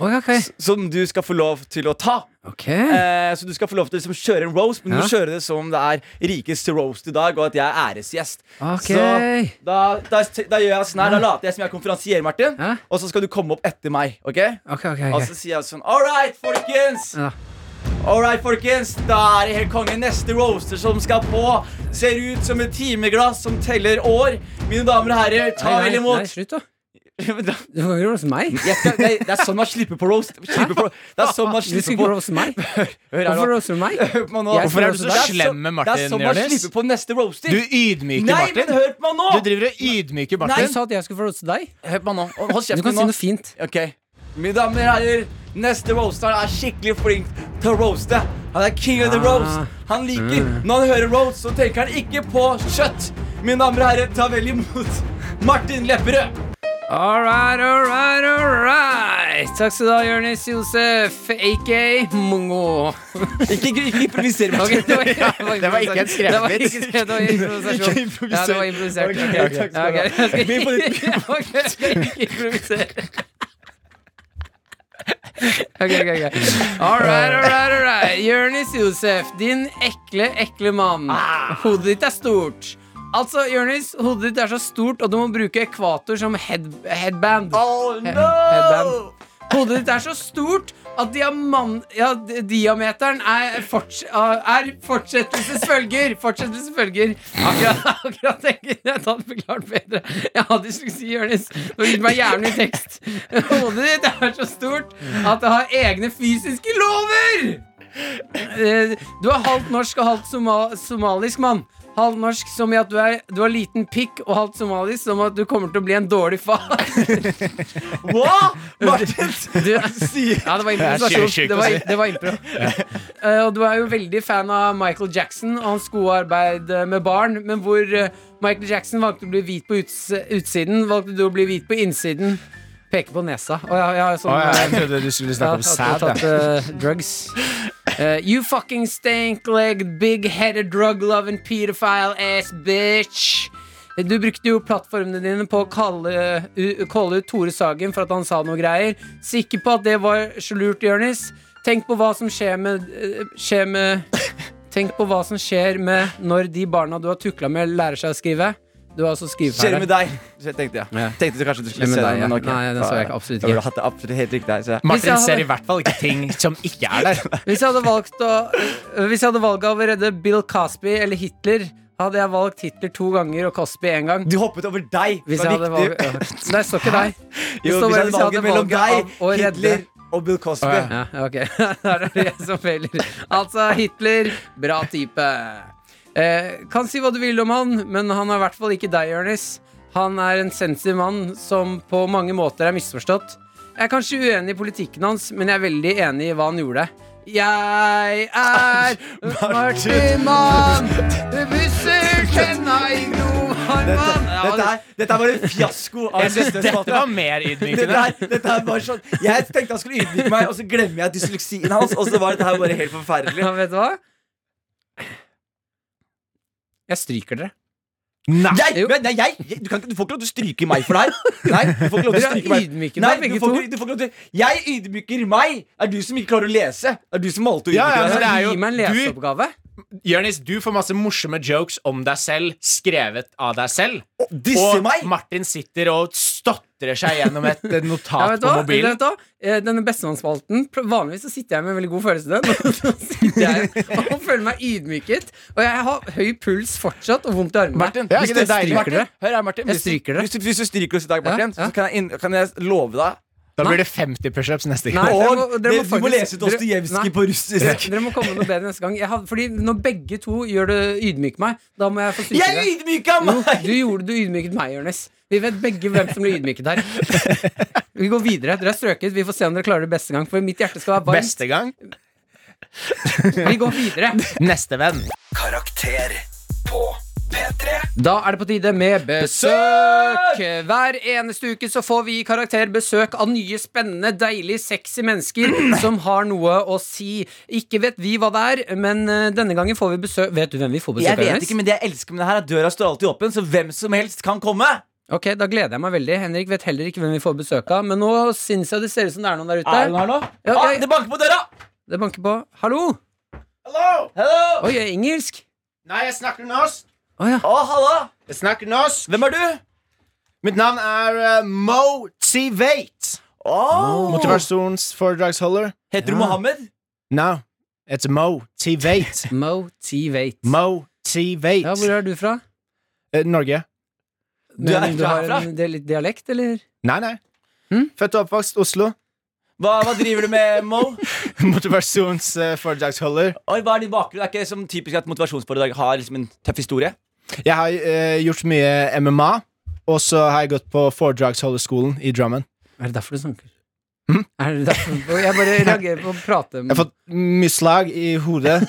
S2: Oi, ok.
S4: Som du skal få lov til å ta.
S2: Ok.
S4: Eh, så du skal få lov til å liksom, kjøre en roast, men du må
S2: Ja.
S4: kjøre det som om det er rikeste roast i dag, og at jeg er æresgjest.
S2: Ok.
S4: Så da, da, da gjør jeg sånn her, da later jeg som jeg er konferansier, Martin,
S2: Ja.
S4: og så skal du komme opp etter meg, ok?
S2: Ok, ok, ok.
S4: Og så sier jeg sånn All right, folkens!
S2: Ja.
S4: All right, folkens, da er det helt konge. Neste roaster som skal på, ser ut som et timeglass som teller år. Mine damer og herrer, ta
S2: Nei, nei,
S4: vel
S2: Nei,
S4: imot
S2: slutt, da.
S4: Men da-
S2: Du kan ikke roaste meg.
S4: jeg skal, det, det er sånn man slipper på roast. Slipper på, det er sånn man
S2: Du skal
S4: slipper
S2: ikke
S4: på
S2: roaste meg.
S4: Hør her
S2: Hvorfor
S4: nå.
S2: roaster du meg?
S4: Hør på meg nå.
S2: Jeg Hvorfor er
S3: du så slem med Martin,
S4: Det er sånn man
S3: Jonis?
S4: slipper på neste roaster.
S3: Du ydmyker
S4: Nei, men
S3: Martin.
S4: hør på meg nå!
S3: Du driver og ydmyker
S2: Du
S3: Martin.
S2: sa at jeg skulle få roaste deg.
S4: Hør på meg nå. Hold
S2: Du
S4: kjeften
S2: kan si
S4: nå.
S2: noe fint.
S4: Ok, mine damer og herrer Neste roaster er skikkelig flink til å roaste Han er king of the
S2: Ah. Mm.
S4: roast Han liker, når han hører roast Så tenker han ikke på kjøtt Mine damer og herrer, ta vel imot Martin Lepperød
S2: All right, all right, all right. Takk skal du ha, Jonis Josef, AK Mongo.
S4: Ikke, ikke improvisere
S2: Ok,
S4: Martin
S2: det var- det
S3: Det var ikke en skrevet
S2: Det var
S3: vits.
S2: ikke skrevet, det var improvisasjon. Ja, det var improvisert.
S4: Ok,
S2: Ok,
S4: takk skal du ha.
S2: ok. Ok,
S4: Begynn på nytt.
S2: Ok, jeg skal ikke improvisere. Ok, ok, ok. All right, all right, all right. Jonis Josef, din ekle, ekle mann.
S3: Ah.
S2: Hodet ditt er stort. Altså, Jonis, hodet ditt er så stort, og du må bruke ekvator som head, headband.
S4: Oh
S2: He-
S4: no
S2: headband. Hodet ditt er så stort at diaman- ja, d- diameteren er, forts eh, er fortsettelsesfølger. Fortsettelsesfølger. Akkurat, akkurat tenker jeg jeg hadde forklart bedre. Jeg hadde dysleksi, Jonis. Nå gir du meg jævlig tekst. Hodet ditt er så stort at det har egne fysiske lover! Eh, Du er halvt norsk og halvt soma somalisk mann. Halvt norsk som i at du, er, du har liten pikk, og halvt somalisk som at du kommer til å bli en dårlig far.
S4: Hva? Martin
S2: Du, ja, det var
S3: Jeg er
S2: improvisasjon.
S3: sjøsjuk
S2: Det
S3: å
S2: var,
S3: si.
S2: det var impro. Eh, og du er jo veldig fan av Michael Jackson og hans gode arbeid eh, med barn, men hvor eh, Michael Jackson valgte å bli hvit på uts utsiden, valgte du å bli hvit på innsiden. Peker på nesa. Å ja, ja, sånn,
S3: Å, ja,
S2: eh,
S3: jeg trodde du skulle snakke om
S2: Ja, at
S3: sæd.
S2: du har
S3: ja.
S2: tatt, eh, drugs. Eh, you fucking stank-legged, big-headed, drug-loving, pedophile-ass bitch. Eh, Du brukte jo platformene dine på å kalle, u- kalle ut Tore Sagen for at han sa noe greier. Sikker på at det var så lurt, Jonis. Tenk på hva som skjer med, eh, skjer med Tenk på hva som skjer med når de barna du har tukla med, lærer seg å skrive. Du har altså
S4: Skjer det
S2: skriveferdig.
S4: med deg? Så jeg tenkte jeg.
S2: Ja.
S4: Tenkte du kanskje du skulle
S2: Skjer med
S4: se den,
S2: deg, ja.
S4: men ok.
S2: Nei, den så jeg ikke, absolutt ikke.
S4: Jeg burde hatt det absolutt helt riktig der, så jeg-
S2: Hvis jeg
S3: Martin
S2: hadde-
S3: ser i hvert fall ikke ting som ikke er der.
S2: Hvis jeg hadde valgt å øh, Hvis jeg hadde valget av å redde Bill Cosby eller Hitler, hadde jeg valgt Hitler to ganger og Cosby én gang.
S4: Du hoppet over deg!
S2: Hvis
S4: Det var
S2: jeg hadde
S4: viktig.
S2: valget, ja. Nei, det står ikke deg. Det
S4: Jo, hvis
S2: står bare
S4: jeg hadde valget mellom deg,
S2: av å redde-
S4: Hitler og Bill Cosby
S3: Å,
S2: Ja, ok. Da er det jeg som feiler. Altså, Hitler, bra type. Eh, kan si hva du vil om han, men han er i hvert fall ikke deg, Jonis. Han er en sensitiv mann som på mange måter er misforstått. Jeg er kanskje uenig i politikken hans, men jeg er veldig enig i hva han gjorde. Jeg er Martin Mann! Du busser tenna i
S4: Dette,
S2: Groharmann! Ja,
S4: dette, er, dette er bare en fiasko av
S3: Jeg synes
S4: Nøstes
S3: dette
S4: Mafia.
S3: var mer
S4: Dette
S3: ydmykende.
S4: er, dette er bare sånn Jeg tenkte han skulle ydmyke meg, og så glemmer jeg dysleksien hans. Og så var dette her bare helt forferdelig.
S2: ja, vet du hva? Jeg stryker dere.
S3: Nei.
S4: Jeg,
S2: Jo.
S4: men, nei, jeg, jeg, du, kan, ikke- du får ikke lov til å stryke meg for det her. Nei, du får ikke lov til å
S2: Dere er
S4: stryke meg.
S2: ydmykende,
S4: Nei,
S2: begge
S4: du får,
S2: to.
S4: ikke- du får ikke lov til Jeg ydmyker meg! Er du som ikke klarer å lese? Er du som valgte å
S3: Ja, ja,
S4: ydmyke
S3: men
S4: deg?
S3: det er jo-
S2: Gi meg en
S3: du-
S2: leseoppgave.
S3: Jørnis, du får masse morsomme jokes om deg selv, skrevet av deg selv.
S4: Disse
S3: Og
S4: meg?
S3: Martin sitter og stotrer seg gjennom et eh,
S2: Ja,
S3: notat
S2: vet du
S3: på
S2: hva?
S3: mobilen.
S2: Vet du hva? Eh, Denne bestemannsspalten pl- Vanligvis så sitter jeg med en veldig god følelse i den. Så sitter jeg og føler meg ydmyket. Og jeg har høy puls fortsatt og vondt i armene.
S4: Martin,
S3: Ja,
S4: hvis
S3: ikke
S4: du
S3: det deilig,
S4: stryker
S2: Martin?
S4: det Hør her, Martin.
S2: Jeg
S4: Hvis du-
S2: stryker det.
S4: Hvis du, hvis du stryker oss i dag, Martin,
S2: Ja, ja.
S4: så kan jeg, inn- kan jeg love deg
S3: Da blir det 50 neste
S2: Nei,
S3: gang.
S2: dere
S4: Og
S2: må- dere
S4: det,
S2: må
S4: du må
S2: faktisk-
S4: lese
S2: dere- nei.
S4: Dostojevskij på russisk.
S2: Dere må komme med noe bedre neste gang. Jeg har, fordi Når begge to gjør det ydmyk meg, da må jeg få stryke
S4: Jeg
S2: det.
S4: ydmyka
S2: Jo,
S4: meg!
S2: du gjorde du ydmyket meg, Jonis. Vi vet begge hvem som ble ydmyket her. Vi går videre. Dere er strøket. Vi får se om dere klarer det beste gang. For mitt hjerte skal være varmt.
S3: Beste gang.
S2: Vi går videre.
S3: Neste venn.
S5: Karakter på P3.
S2: Da er det på tide med besøk! Hver eneste uke så får vi i karakter besøk av nye, spennende, deilig, sexy mennesker som har noe å si. Ikke vet vi hva det er, men eh, denne gangen får vi besøk Vet du hvem vi får besøk
S4: Jeg
S2: av?
S4: vet
S2: Jonas?
S4: ikke, men det jeg elsker med det her, er at døra står alltid åpen, så hvem som helst kan komme.
S2: Ok, Da gleder jeg meg veldig. Henrik vet heller ikke hvem vi får besøk av, men nå syns jeg det ser ut som det er noen der ute.
S4: Er hun her nå?
S2: Ja,
S4: ah,
S2: jeg-
S4: det banker på døra!
S2: Det banker på. Hallo!
S3: Hallo!
S4: Hello!
S2: Oi, jeg er engelsk.
S3: Nei, jeg snakker norsk.
S2: Å ja.
S4: Å, Ah, halla!
S3: Jeg snakker norsk.
S4: Hvem er du?
S3: Mitt navn er eh, Motivate.
S4: Åh.
S3: Motivasjonsforedragsholder.
S4: Heter du Mohammed?
S3: No, it's Motivate.
S2: Motivate.
S3: Motivate.
S2: ja, hvor er du fra?
S3: Eh, Norge.
S4: Du er
S2: Men du har
S4: herfra?
S2: en del litt dialekt, eller?
S3: Nei, nei.
S2: Hm?
S3: Født og oppvokst Oslo.
S4: Hva, hva driver du med, Mo?
S3: eh, Motivasjonsforedragsholder.
S4: Oi, hva er din bakgrunn? Det er ikke som typisk at motivasjonsforedrag har liksom en tøff historie.
S3: Jeg har eh, gjort mye MMA, og så har jeg gått på foredragsholderskolen i Drammen.
S2: Er det derfor du snakker?
S3: Mhm.
S2: Er det derfor? Jeg bare reagerer på å prate.
S3: Jeg har fått mye slag i hodet.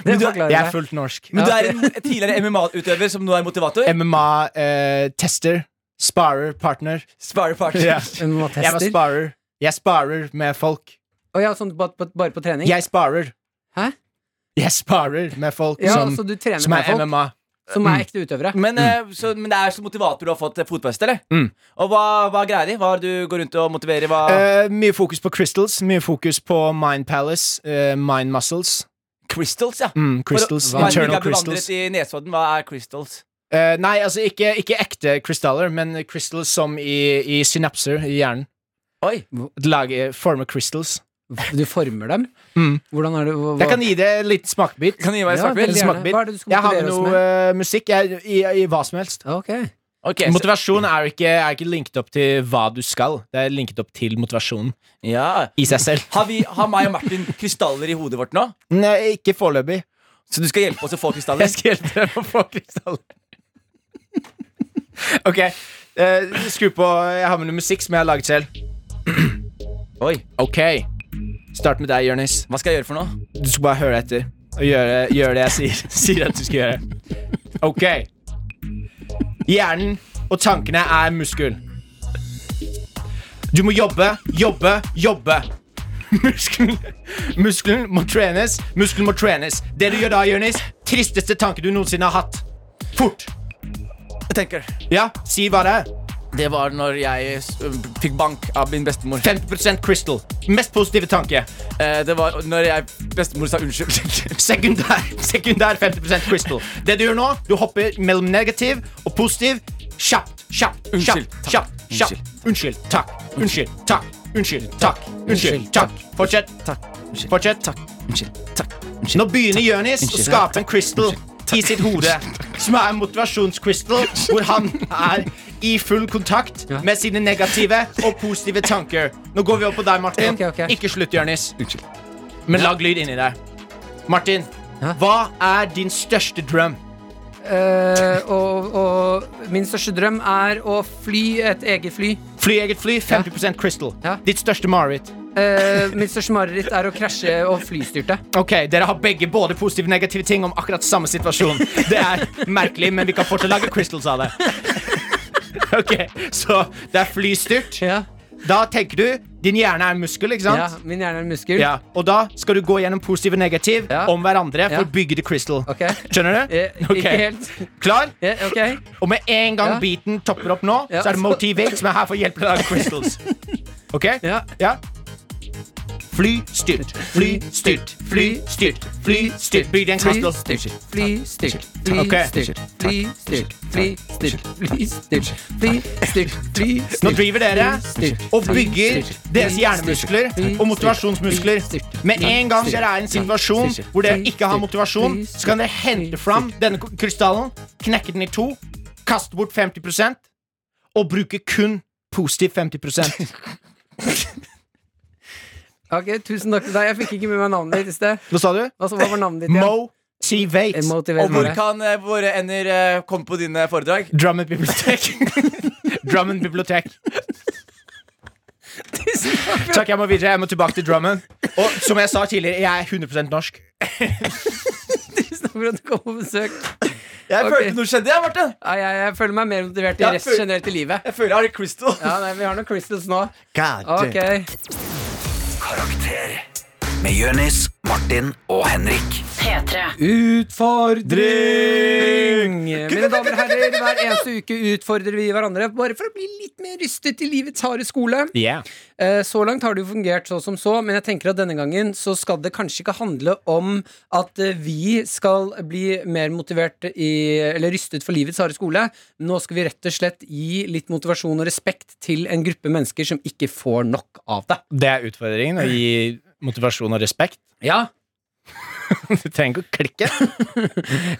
S2: Det
S4: du er-
S2: forklarer
S3: Jeg er
S2: det.
S3: fullt norsk.
S4: Men
S2: Ja,
S4: du er en tidligere MMA-utøver som nå er motivator.
S3: MMA-tester. eh, Sparer. Partner.
S4: Sparer party.
S3: Ja.
S2: Men må
S3: Jeg var
S2: tester.
S3: sparer. Jeg sparer med folk.
S2: Å ja, sånn ba- ba- bare på trening?
S3: Jeg sparer.
S2: Hæ?
S3: Jeg sparer med folk
S2: ja,
S3: som,
S2: så du trener
S3: som
S2: med
S3: er Mm.
S2: folk
S3: MMA.
S2: som er ekte utøvere?
S4: Men, eh, så, men det er som motivator du har fått eh, fotfeste, eller?
S3: Mm.
S4: Og hva, hva er greia di? Hva er det du går rundt og motiverer? Hva?
S3: Eh, mye fokus på crystals, mye fokus på mind palace, eh, mind muscles.
S4: crystals, ja.
S3: Mm, crystals,
S2: hva-
S3: Internal
S4: Hva
S3: crystals.
S4: i Nesodden, hva er crystals?
S3: Eh, nei, altså ikke, ikke ekte krystaller, men crystals som i, i synapser i hjernen.
S4: Oi.
S3: Lage, forme crystals.
S2: Du former dem?
S3: Mm.
S2: Hvordan er det hva,
S3: Jeg kan gi det en liten smakebit.
S4: Kan du gi meg en
S2: Ja,
S4: smakebit?
S2: veldig
S3: En
S2: gjerne.
S3: smakebit.
S2: Hva er det du skal
S3: Jeg har med
S2: motivere oss
S3: noe
S2: med?
S3: eh, musikk jeg, i, i hva som helst.
S2: Ok.
S4: Ok, så-
S3: Motivasjon er jo ikke, er ikke linket opp til hva du skal. Det er linket opp til motivasjonen
S4: ja.
S3: i seg selv.
S4: har, vi, har meg og Martin krystaller i hodet vårt nå?
S3: Nei, ikke foreløpig.
S4: Så du skal hjelpe oss å få krystaller?
S3: Jeg skal hjelpe deg med å få krystaller. ok. eh, skru på Jeg har med noe musikk som jeg har laget selv.
S4: Oi,
S3: Ok. Start med deg, Jonis.
S4: Hva skal jeg gjøre for noe?
S3: Du skal bare høre etter og gjøre, gjøre det jeg sier, sier at du skal gjøre. Ok. Hjernen og tankene er muskel. Du må jobbe, jobbe, jobbe. Muskelen, muskelen må trenes, muskelen må trenes. Det du gjør da, Jonis, tristeste tanke du noensinne har hatt. Fort.
S4: Jeg tenker
S3: Ja, si hva det er.
S4: Det var når jeg s- fikk bank av min bestemor.
S3: 50 crystal. Mest positive tanke.
S4: Eh, det var når jeg bestemor sa unnskyld.
S3: Sekundær, sekundær 50 crystal. Det du gjør nå, du hopper mellom negativ og positiv. Kjapt, kjapt,
S4: Unnskyld,
S3: kjapt,
S4: takk.
S3: kjapt. kjapt. Unnskyld, takk. Unnskyld, takk. Unnskyld, takk. Unnskyld, takk. Fortsett.
S4: Takk. Unnskyld.
S3: Fortsett.
S4: Unnskyld. Takk.
S3: Nå begynner Jonis å
S4: Unnskyld.
S3: skape en crystal i sitt hode, som er en motivasjonscrystal, hvor han er i full kontakt
S2: Ja.
S3: med sine negative og positive tanker. Nå går vi opp på deg, Martin.
S2: Ok, ok.
S3: Ikke slutt, Jonis. Men lag lyd inni deg. Martin,
S2: Ja.
S3: hva er din største drøm?
S2: Eh, og, og min største drøm er å fly et eget fly.
S3: Fly eget fly, 50 crystal.
S2: Ja.
S3: Ditt største mareritt.
S2: Eh, mitt største mareritt er å krasje og flystyrte.
S3: Ok, Dere har begge både positive og negative ting om akkurat samme situasjon. Det er merkelig, men vi kan fortsatt lage crystals av det. Ok, Så det er flystyrt.
S2: Ja.
S3: Da tenker du din hjerne er en muskel, ikke sant?
S2: min hjerne er en muskel.
S3: Ja. Og da skal du gå gjennom positiv og negativ
S2: Ja.
S3: om hverandre for
S2: Ja.
S3: å bygge the crystal.
S2: Ok.
S3: Skjønner du?
S2: Eh,
S3: Ok.
S2: Ikke helt.
S3: Klar?
S2: Ja, ok.
S3: Og med en gang
S2: Ja.
S3: beaten topper opp nå,
S2: Ja.
S3: så er det Motivate som er her for å hjelpe deg å lage crystals. Ok?
S2: Ja.
S3: Ja. Fly styrt, fly styrt, fly styrt, fly styrt. Bygg deg en crystal.
S2: Flystyrt, flystyrt,
S3: Ok.
S2: flystyrt, flystyrt, flystyrt, flystyrt, flystyrt, flystyrt.
S3: Nå driver dere og bygger deres hjernemuskler og motivasjonsmuskler. Med en gang dere er i en situasjon hvor dere ikke har motivasjon, så kan dere hente fram denne k- krystallen, knekke den i to, kaste bort 50 og bruke kun positiv 50
S2: Ok, tusen takk til deg. Jeg fikk ikke med meg navnet ditt i sted.
S3: Hva sa du?
S2: Altså, hva var navnet ditt igjen?
S3: Motivate.
S2: Motivate
S4: Og hvor
S2: meg.
S4: kan eh, våre ender eh, komme på dine foredrag?
S3: Drammen bibliotek. Drammen bibliotek. Takk, jeg må videre. Jeg må tilbake til Drammen. Og som jeg sa tidligere, jeg er 100 norsk.
S2: Takk for at du kom på besøk.
S4: Jeg
S2: Ok.
S4: følte noe skjedde, jeg, Martin.
S2: Ja, jeg, jeg føler meg mer motivert i
S4: Ja,
S2: rest
S4: føl-
S2: generelt i livet.
S4: Jeg føler jeg har et crystal.
S2: Ja, nei, vi har noen crystals nå. Ok.
S5: Karakter med Jønis, Martin og Henrik.
S1: P3.
S2: Utfordring! Mine damer og herrer, hver eneste uke utfordrer vi hverandre bare for å bli litt mer rystet i livets harde skole. Eh, Så langt har det jo fungert så som så, men jeg tenker at denne gangen så skal det kanskje ikke handle om at eh, vi skal bli mer motivert i, eller rystet for livets harde skole. Nå skal vi rett og slett gi litt motivasjon og respekt til en gruppe mennesker som ikke får nok av det.
S3: Det er utfordringen. Å gi motivasjon og respekt.
S2: Ja,
S3: Du trenger ikke å klikke.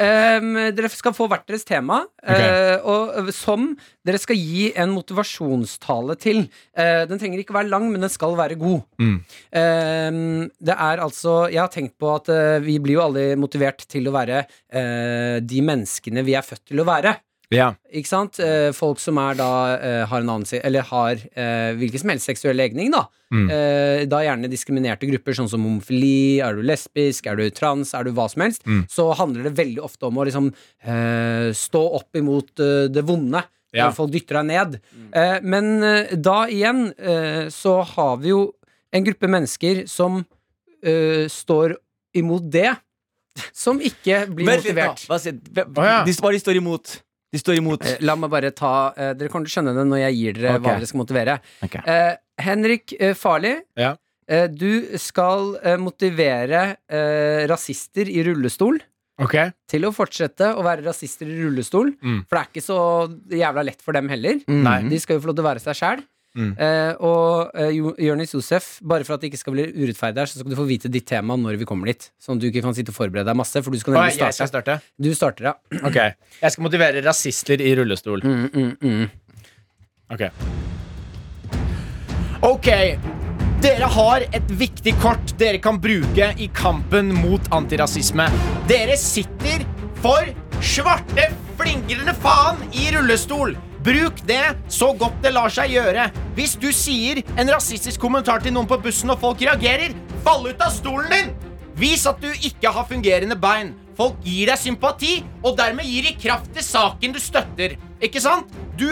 S2: Ehm, dere skal få hvert deres tema, eh, og, eh, som dere skal gi en motivasjonstale til. Eh, den trenger ikke være lang, men den skal være god.
S3: Mm.
S2: Ehm, det er altså Jeg har tenkt på at eh, vi blir jo aldri motivert til å være eh, de menneskene vi er født til å være.
S3: Ja.
S2: Ikke sant? Eh, folk som er da eh, har en annen si- Eller har eh, hvilken som helst seksuell legning, da.
S3: Mm.
S2: Eh, da gjerne diskriminerte grupper, sånn som homofili, er du lesbisk, er du trans, er du hva som helst,
S3: Mm.
S2: så handler det veldig ofte om å liksom eh, stå opp imot eh, det vonde.
S3: Ja.
S2: Når folk dytter deg ned. Eh, men eh, da igjen eh, så har vi jo en gruppe mennesker som eh, står imot det, som ikke blir
S4: Vent litt,
S2: motivert.
S4: da. Hva sier- hvem-
S3: Å, ja.
S4: de, hva de står imot? De står imot.
S2: Eh, La meg bare ta eh, Dere kommer til å skjønne det når jeg gir dere
S3: Ok.
S2: hva dere skal motivere.
S4: Ok.
S2: Eh, Henrik eh, Farli,
S3: Ja.
S2: eh, du skal eh, motivere eh, rasister i rullestol
S3: Ok.
S2: til å fortsette å være rasister i rullestol.
S3: Mm.
S2: For det er ikke så jævla lett for dem heller.
S3: Nei.
S2: De skal jo få lov til å være seg sjæl.
S3: Mm.
S2: Eh, og eh, Jo- Jonis Josef, bare for at det ikke skal bli urettferdig her, så skal du få vite ditt tema når vi kommer dit. Sånn at du ikke kan sitte og forberede deg masse, for du
S3: Å,
S2: skal nemlig
S3: jeg skal
S2: starte.
S3: starte?
S2: Du starter, ja.
S3: Ok. Jeg skal motivere rasister i rullestol.
S2: Mm, mm, mm.
S3: Ok. Ok. Dere har et viktig kort dere kan bruke i kampen mot antirasisme. Dere sitter for svarte flingrende faen i rullestol. Bruk det så godt det lar seg gjøre. Hvis du sier en rasistisk kommentar til noen på bussen og folk reagerer, fall ut av stolen din! Vis at du ikke har fungerende bein. Folk gir deg sympati, og dermed gir de kraft til saken du støtter. Ikke sant? Du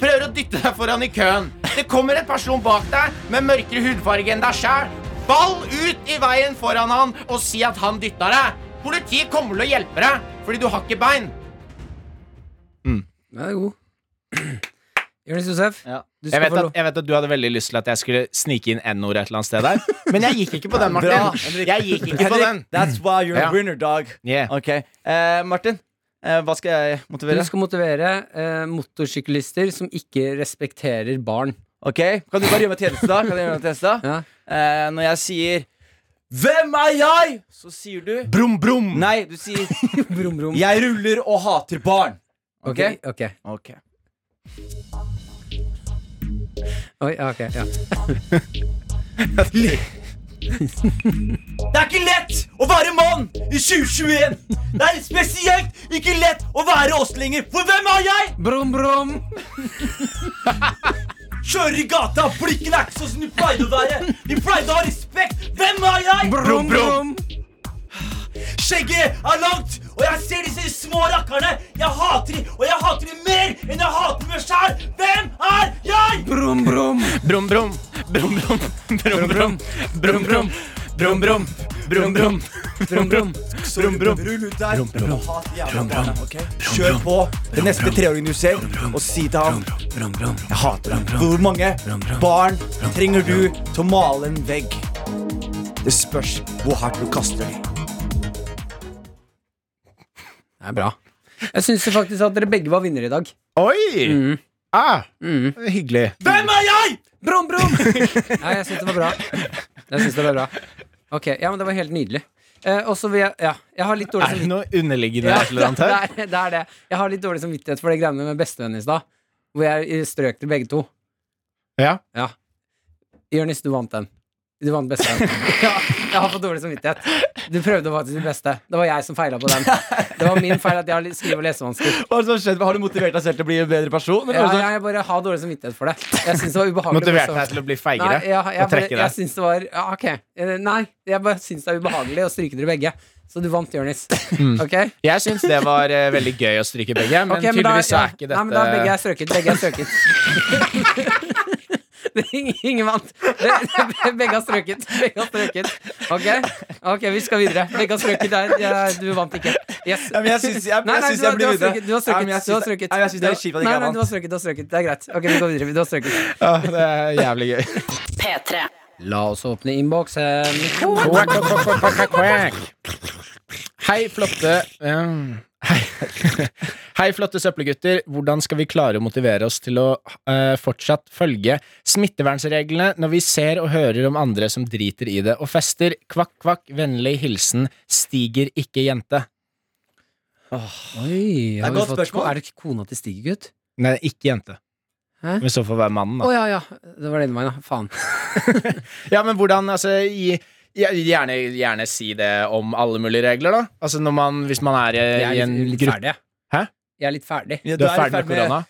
S3: prøver å dytte deg foran i køen. Det kommer en person bak deg med mørkere hudfarge enn deg sjæl. Ball ut i veien foran han og si at han dytta deg. Politiet kommer til å hjelpe deg, fordi du har ikke bein.
S2: Den er god. Jonis Josef,
S4: Ja.
S2: du
S3: Jeg
S2: skal
S3: vet,
S2: få
S3: at,
S2: lov.
S3: jeg vet at du hadde veldig lyst til at jeg skulle snike inn N-ordet et eller annet sted der, men jeg gikk ikke på den,
S4: Bra,
S3: Martin.
S4: Henrik.
S3: Jeg gikk ikke på
S4: Henrik,
S3: den.
S4: That's why you're
S3: Ja.
S4: a winner, dog.
S3: Yeah.
S4: Ok, eh, Martin. Eh, hva skal jeg
S2: Du
S4: motivere?
S2: skal motivere eh, motorsyklister som ikke respekterer barn.
S4: Ok, Kan du bare gjøre meg tjeneste, da? Kan du gjøre meg tjeneste, da?
S2: Ja.
S4: Eh, når jeg sier 'Hvem er jeg?', så sier du
S3: Brum, brum.
S4: Nei, du sier
S2: Brum, brum.
S4: 'Jeg ruller og hater barn'. Ok?
S2: Ok, ok.
S4: Ok.
S2: Oi, ja, ok, ja.
S4: Det er ikke lett å være mann i 2021! Det er spesielt ikke lett å være oss lenger, for hvem er jeg?
S2: Brum, brum!
S4: Kjører i gata, blikkene er ikke sånn som de pleide å være. De pleide å ha respekt. Hvem er jeg?
S2: Brum, brum!
S4: Skjegget er langt, og jeg ser disse små rakkerne. Jeg hater de, og jeg hater de mer enn jeg hater meg sjæl. Hvem er jeg?
S2: Brum, brum!
S3: Brum, brum. Brum, brum. Brum, brum. Brum, brum. Brum, brum. Brum, brum.
S2: Brum, brum.
S4: Brum, brum. Rull ut der og hat de jævla barna. ok? Kjør på den neste treåringen du ser, og si til ham Jeg hater deg. Hvor mange barn trenger du til å male en vegg? Det spørs hvor hardt du kaster dem.
S2: Det er bra. Jeg syns faktisk at dere begge var vinnere i dag.
S3: Oi! Ah, Hyggelig.
S4: Hvem er jeg?
S2: Brum, brum! Nei, jeg syns det var bra. Jeg synes det var bra. Ok, ja, men det var helt nydelig. Eh, og så vil jeg Ja, jeg har litt dårlig
S3: Er det
S2: samvittighet.
S3: noe underliggende
S2: Ja,
S3: et eller annet
S2: det,
S3: her?
S2: er, det er det. Jeg har litt dårlig samvittighet for de greiene med bestevennen i stad, hvor jeg strøk til begge to.
S3: Ja.
S2: Ja. Jonis, du vant den. Du vant bestevenn. ja, jeg har fått dårlig samvittighet. Du prøvde faktisk ditt beste. Det var jeg som feila på den. Det var min feil at jeg har litt skrive- og lesevansker.
S4: Hva er det som har skjedd? Har du motivert deg selv til å bli en bedre person?
S2: Ja,
S4: Eller?
S2: jeg bare har dårlig samvittighet for det. Jeg syns det var ubehagelig.
S3: Motiverte deg til å bli feigere?
S2: Nei, jeg, jeg,
S3: og
S2: bare,
S3: trekke
S2: jeg
S3: deg?
S2: syns det var ja, Ok. Eh, Nei, jeg bare syns det er ubehagelig å stryke dere begge. Så du vant, Jonis.
S3: Mm.
S2: Ok?
S3: Jeg syns det var eh, veldig gøy å stryke begge, men
S2: Ok, men da-
S3: tydeligvis så
S2: ja.
S3: er ikke
S2: Nei, men da er begge
S3: dette
S2: er strøket. Begge er strøket. Det er ingen, ingen vant. Det- det- Begge har strøket. Begge har strøket. Ok, Ok, vi skal videre. Begge har strøket. Der. Ja, Du vant ikke. Yes.
S4: Ja, men jeg syns- jeg- jeg
S2: Nei, nei,
S4: syns
S2: du har-
S4: jeg blir
S2: du har
S4: videre.
S2: strøket, Du har
S4: Ja, men jeg
S2: strøket. Du har
S4: syns det-
S2: strøket.
S4: Nei, jeg syns det er kjipt at jeg
S2: Nei,
S4: ikke
S2: nei,
S4: vant.
S2: du har strøket. Du har strøket. Det er greit. Ok, vi går videre. Du har strøket.
S3: Ja, Det er jævlig gøy.
S1: P3.
S2: La oss åpne innboksen.
S3: Quack, quack, quack, quack, quack, quack, quack. Hei, flotte ehm, Hei. Hei, flotte søppelgutter. Hvordan skal vi klare å motivere oss til å eh, fortsatt følge smittevernreglene når vi ser og hører om andre som driter i det og fester? Kvakk, kvakk, vennlig hilsen Stiger ikke jente.
S2: Oi,
S4: er
S2: har
S4: et
S2: vi
S4: godt
S2: fått,
S4: spørsmål.
S2: Er det ikke kona til Stigegutt?
S3: Nei, ikke jente.
S2: Hæ?
S3: Men så får være mannen,
S2: Å
S3: da.
S2: ja, ja. Det var den veien, ja. Faen.
S3: Ja, men hvordan, altså i, ja, Gjerne, gjerne si det om alle mulige regler, da. Altså når man, hvis man er i,
S2: Jeg
S3: Eh, i
S2: er
S3: en
S2: litt, litt
S3: gruppe
S2: ferdig. jeg.
S3: Hæ?
S2: Jeg er litt ferdig.
S4: Ja,
S3: Du er ferdig med korona?